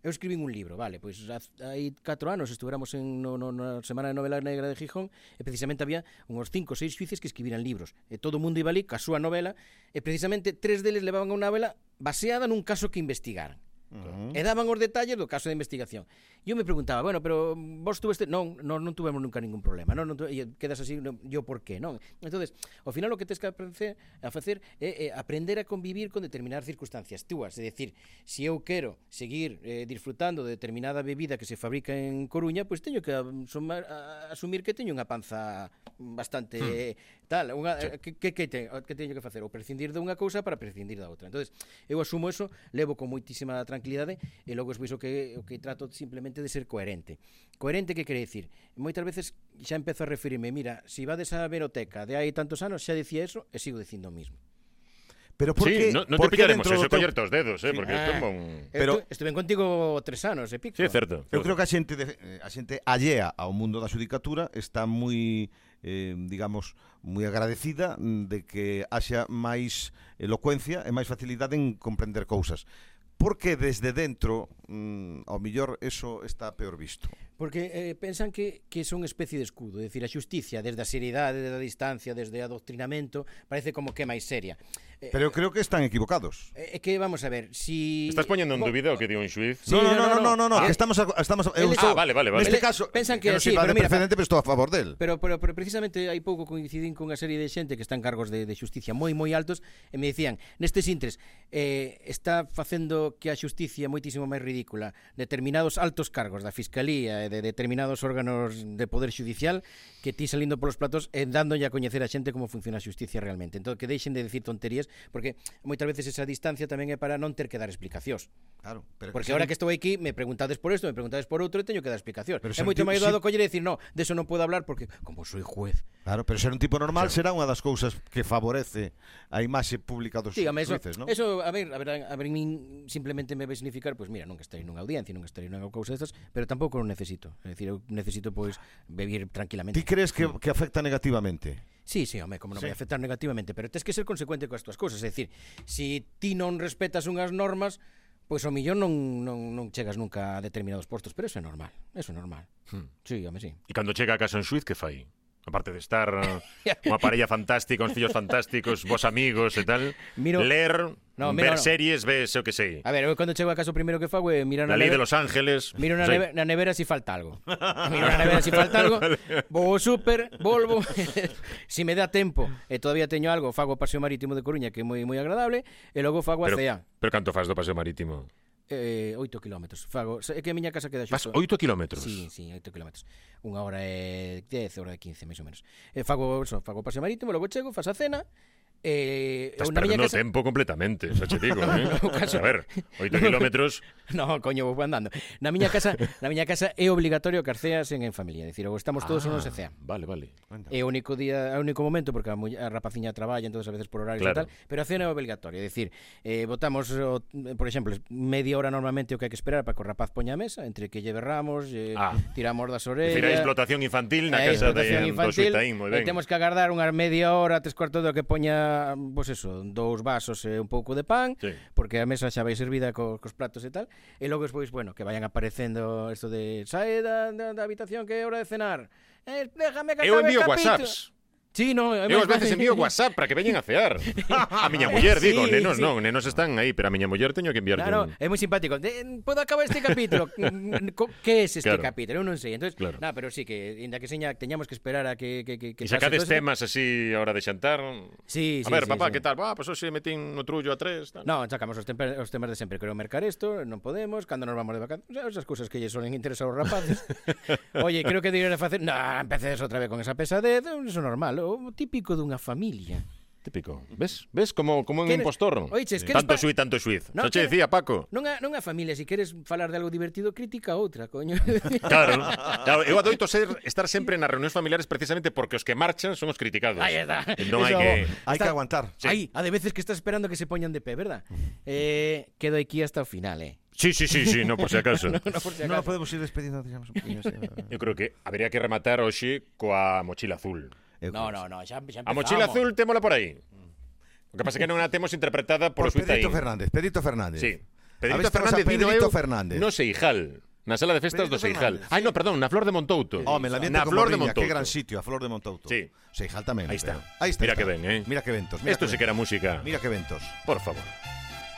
E: Eu escribín un libro, vale, pois haz- hai 4 anos estuveramos en no, no, na Semana de Novela Negra de Gijón e precisamente había uns 5 ou 6 xuices que escribiran libros. E todo o mundo iba ali ca súa novela e precisamente tres deles levaban a unha novela baseada nun caso que investigaran. E daban os detalles do caso de investigación. Yo me preguntaba, bueno, pero vos tuveste... Non, non, non tuvemos nunca ningún problema. Non, non tu... e quedas así, non, yo por qué, non? entonces ao final o que tens que aprender a facer é, é aprender a convivir con determinadas circunstancias túas. É dicir, se eu quero seguir eh, disfrutando de determinada bebida que se fabrica en Coruña, pois pues teño que asumar, a, asumir que teño unha panza bastante hmm. tal, unha, sí. que, que, que, te, que teño que facer? O prescindir dunha cousa para prescindir da outra. Entonces, eu asumo eso, levo con moitísima tranquilidade e logo despois o que, o que trato simplemente de ser coherente. Coherente que quere dicir? Moitas veces xa empezo a referirme, mira, se si vades a Veroteca de hai tantos anos, xa dicía eso e sigo dicindo o mismo.
B: Pero por
A: Sí,
B: qué,
A: no, no
B: por
A: te
B: qué
A: pillaremos
B: dentro
A: eso,
B: do teu-
A: collerte os dedos, eh, porque
E: Ah.
A: tomo un...
B: Pero-
E: Estu, estuve contigo tres anos e pico.
A: Sí, é certo.
B: Eu creo que a xente de, eh, a xente allea ao mundo da xudicatura está moi eh, digamos moi agradecida mm, de que haxa máis elocuencia e máis facilidade en comprender cousas. Porque desde dentro, mm, ao mellor, eso está peor visto.
E: Porque eh, pensan que, que é unha especie de escudo, é dicir, a xusticia desde a seriedade, desde a distancia, desde o adoctrinamento, parece como que é máis seria. Eh,
B: Pero eu creo que están equivocados.
E: É que vamos a ver, si
A: Estás poñendo en
E: Bo-
A: dúbida o que di un xuiz?
E: Sí,
B: no, no, no, no, no,
E: no, no,
B: no, no,
E: ah,
B: que estamos a- estamos a- eu
E: él-
B: estou
A: Ah, vale, vale, vale.
B: Neste
E: Ele-
B: caso,
E: pensan
B: eu
E: que
B: non
E: sí,
B: sirva de
E: pero mira,
B: precedente, pero estou a favor del.
E: Pero, pero, pero precisamente hai pouco coincidín cunha serie de xente que están cargos de, de xusticia moi moi altos e me dicían, nestes intres eh, está facendo que a xusticia é moitísimo máis ridícula determinados altos cargos da Fiscalía e de determinados órganos de poder judicial que ti salindo polos platos e dándolle a coñecer a xente como funciona a xusticia realmente. Entón, que deixen de decir tonterías porque moitas veces esa distancia tamén é para non ter que dar explicacións.
B: Claro, pero
E: Porque
B: se-
E: ahora que estou aquí, me preguntades por esto, me preguntades por outro, e teño que dar explicación.
B: Pero
E: Pero é
B: se
E: moito
B: enti-
E: máis doado
B: se-
E: coller e dicir, no, de eso non puedo hablar porque, como soy juez.
B: Claro, pero ser un tipo normal será unha das cousas que favorece a imaxe pública dos
E: Dígame, eso,
B: xuíces, non?
E: eso, a ver, a ver, a ver, min simplemente me vai significar, pois pues, mira, nunca estarei nunha audiencia, nunca estarei nunha cousa destas, pero tampouco o necesito. É dicir, eu necesito, pois, vivir tranquilamente.
B: Ti crees que, que afecta negativamente?
E: Sí, sí, home, como non
B: Sí.
E: sí. vai afectar negativamente, pero tes que ser consecuente coas túas cousas, é dicir, se si ti non respetas unhas normas, pois ao millón non, non, non chegas nunca a determinados postos, pero eso é normal, eso é normal. Hmm. Sí, home, sí.
A: E cando chega a casa en Suiz, que fai? Aparte de estar eh, unha parella fantástica, uns fillos fantásticos, vos amigos e tal,
E: Miro-
A: ler,
E: No,
A: ver
E: miro, no.
A: series, ves, eu que sei.
E: A ver, eu cando chego a casa o primeiro que fago é mirar
A: La
E: na
A: ley de
E: neve-
A: los ángeles.
E: Miro na,
A: Sí.
E: neve, na nevera si falta algo. Miro na nevera si falta algo. Vou ao super, volvo. si me dá tempo e todavía teño algo, fago o paseo marítimo de Coruña, que é moi moi agradable, e logo fago a
A: Pero,
E: CEA.
A: pero canto faz do paseo marítimo?
E: Eh, 8 kilómetros. Fago, é que a miña casa queda
A: Faz
E: xusto.
A: 8 kilómetros.
E: Sí, sí, 8 kilómetros. Unha hora e 10, hora e 15, máis ou menos. E fago, eso, fago o paseo marítimo, logo chego, fas a cena, eh,
A: Estás
E: eu na miña
A: perdendo
E: casa...
A: tempo completamente, xa che digo, eh?
E: no, caso-
A: A ver, 8 kilómetros,
E: No, coño, vou andando. Na miña casa, na miña casa é obligatorio que as ceas en, en familia, é dicir, ou estamos todos ou non se
A: Ah,
E: cea. Eh,
A: Vale, vale.
E: É o único día, é o único momento porque a, muller, a rapaciña traballa, entonces a veces por horarios
A: Claro.
E: claro. e tal, pero a cena é obligatoria, é dicir, eh votamos, o, por exemplo, media hora normalmente o que hai que esperar para que o rapaz poña a mesa, entre que lle berramos, lle
A: Ah.
E: ah. tiramos das orellas.
A: Decir, a explotación infantil na
E: Eh,
A: casa
E: explotación
A: de, do
E: infantil,
A: Suitaín, moi
E: e
A: ben.
E: Temos que agardar unha media hora, tres cuartos do que poña, pois eso, dous vasos e un pouco de pan,
A: Sí.
E: porque a mesa xa vai servida co, cos platos e tal, e logo despois, bueno, que vayan aparecendo isto de sae da, da, da habitación que é hora de cenar. Eh, déjame que
A: Eu
E: acabe
A: envío
E: o capítulo".
A: whatsapps.
E: Sí, no,
A: Eu ás veces envío WhatsApp para que veñen a cear. A miña muller,
E: Sí,
A: digo, nenos
E: sí.
A: non, nenos están aí, pero a miña muller teño que enviarlle
E: Claro,
A: un...
E: é moi simpático. De, podo acabar este capítulo. Mm, co- que es este
A: Claro.
E: capítulo? Eu non sei. Entonces,
A: Claro.
E: nah, pero sí que inda que seña teñamos que esperar a que que que
A: E
E: que pase
A: sacades
E: todo esto.
A: temas así a hora de xantar.
E: Sí, sí,
A: a ver,
E: sí,
A: papá,
E: sí.
A: que tal? Ah, pois pues hoxe metín no trullo a tres. Tal.
E: No, sacamos os, temper, os temas de sempre Quero mercar isto, non podemos, cando nos vamos de vacacións o sea, Esas cousas que lle suelen interesar aos rapaces Oye, creo que deberías facer Nah, empeces outra vez con esa pesadez Eso é normal, o típico dunha familia
A: Típico. ¿Ves? ¿Ves como, como un
E: Queres-
A: impostor?
E: Oiches, queres
A: tanto
E: pa-
A: suiz, tanto suiz. No,
E: No,
A: che
E: queres-
A: decía, Paco.
E: Nunha, nunha familia, se queres falar de algo divertido Critica a outra, coño
A: Claro, claro, eu adoito ser, estar sempre nas reunións familiares precisamente porque os que marchan son os criticados.
E: Aí está.
A: Non hai
E: Eso-
A: que...
B: Hai que
E: Está-
B: aguantar.
A: Sí.
E: Aí, a de veces que estás esperando que se poñan de pé, verdad? Eh, quedo aquí hasta o final, eh
A: Sí, sí, sí, sí, no, por si acaso. no,
E: No, por si
B: No,
E: acaso.
B: podemos ir despedindo. digamos, un poquinho, sí.
A: Eu creo que habería que rematar hoxe coa mochila azul.
B: Eu
E: no,
B: creo
E: no, no, xa, xa
A: A mochila
E: empezamos.
A: azul témola por aí. O que pasa é que non a temos interpretada
B: Por
A: polo suiz aí.
B: Pues Pedrito Fernández, Pedrito Fernández.
A: Sí.
B: Habéis
A: Pedrito
B: temos a
A: Fernández, vido
B: Pedrito
A: eu
B: Fernández.
A: No Seijal. Na sala de festas
B: Pedrito
A: do Seijal.
B: Fernández,
A: Ai, no, perdón, na Flor de Montouto.
B: Home, la ambiente
A: na
B: como
A: Flor de
B: Viña,
A: Montouto.
B: qué gran sitio, a Flor de Montouto.
A: Sí.
B: Seijal tamén.
A: Ahí está.
B: pero- Ahí está.
A: Mira
B: está.
A: que ben, eh.
B: Mira que ventos. Mira
A: Esto sí
B: que ben.
A: que era música.
B: Mira que ventos.
A: Por favor.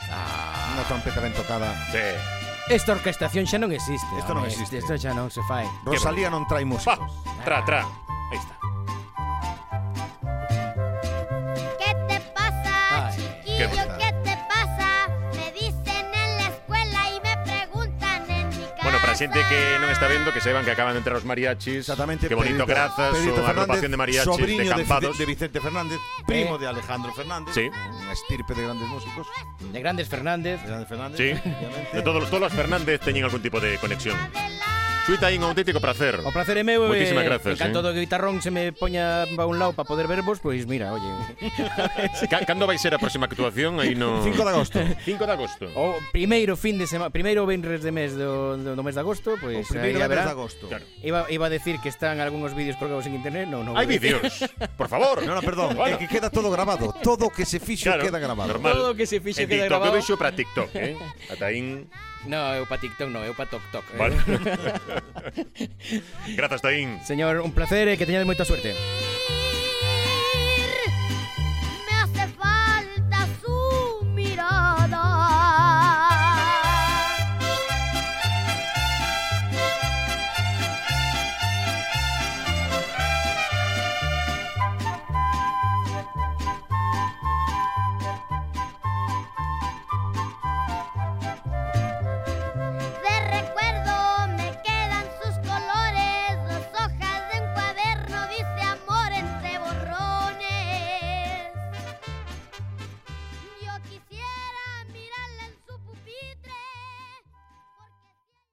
B: Una trompeta ben tocada.
A: Sí.
E: Ah, Esta orquestación xa non existe
B: Esto non
E: home,
B: existe.
E: Esto xa non se fai
B: Rosalía non trae
A: Pa,
B: músicos.
A: tra, tra. Ahí está.
F: ¿Qué te pasa,
E: Ay,
A: qué
F: chiquillo?
A: bonita.
F: ¿Qué te pasa? Me dicen en la escuela y me preguntan en mi casa.
A: Bueno, para a xente que non está vendo, que saiban que acaban de entrar os mariachis.
B: Exactamente.
A: Que bonito
B: Pedrito-
A: grazas,
B: Pedrito
A: o a agrupación de mariachis,
B: sobriño
A: de campados.
B: De, de Vicente Fernández, primo de Alejandro Fernández.
A: Sí.
B: Una estirpe de grandes músicos.
E: De Grandes Fernández
B: De Grandes Fernández.
A: Sí.
B: obviamente.
A: De todos, los- todos los Fernández teñen algún tipo de conexión. Suita aí un auténtico placer.
E: O placer é meu
A: Moitísimas
E: eh,
A: grazas,
E: En canto
A: eh.
E: do guitarrón se me poña a un lado para poder vervos Pois mira, oye
A: Ca- Cando vai ser a próxima actuación? Aí no
B: 5 de agosto. Oh,
A: 5 de agosto.
E: O primeiro fin de semana Primeiro venres de mes do, do, do mes de
B: O
E: agosto Pois
B: primeiro
E: aí
B: venres
E: haberá.
B: de agosto.
A: Claro.
E: Iba, iba a decir que están algúns vídeos colgados en internet No, no
A: Hai vídeos. Por favor.
B: No, no, perdón.
A: Bueno.
B: É que queda todo grabado. Todo o que se fixo
A: Claro,
B: queda grabado.
A: normal.
E: Todo o que se fixe
A: en TikTok
E: queda grabado.
A: eu vexo para TikTok, eh? Ata aí.
E: No, eu pa TikTok no, eu pa TokTok eh.
A: Vale. Grazas, Taín.
E: Señor, un placer e que eh, teñades moita suerte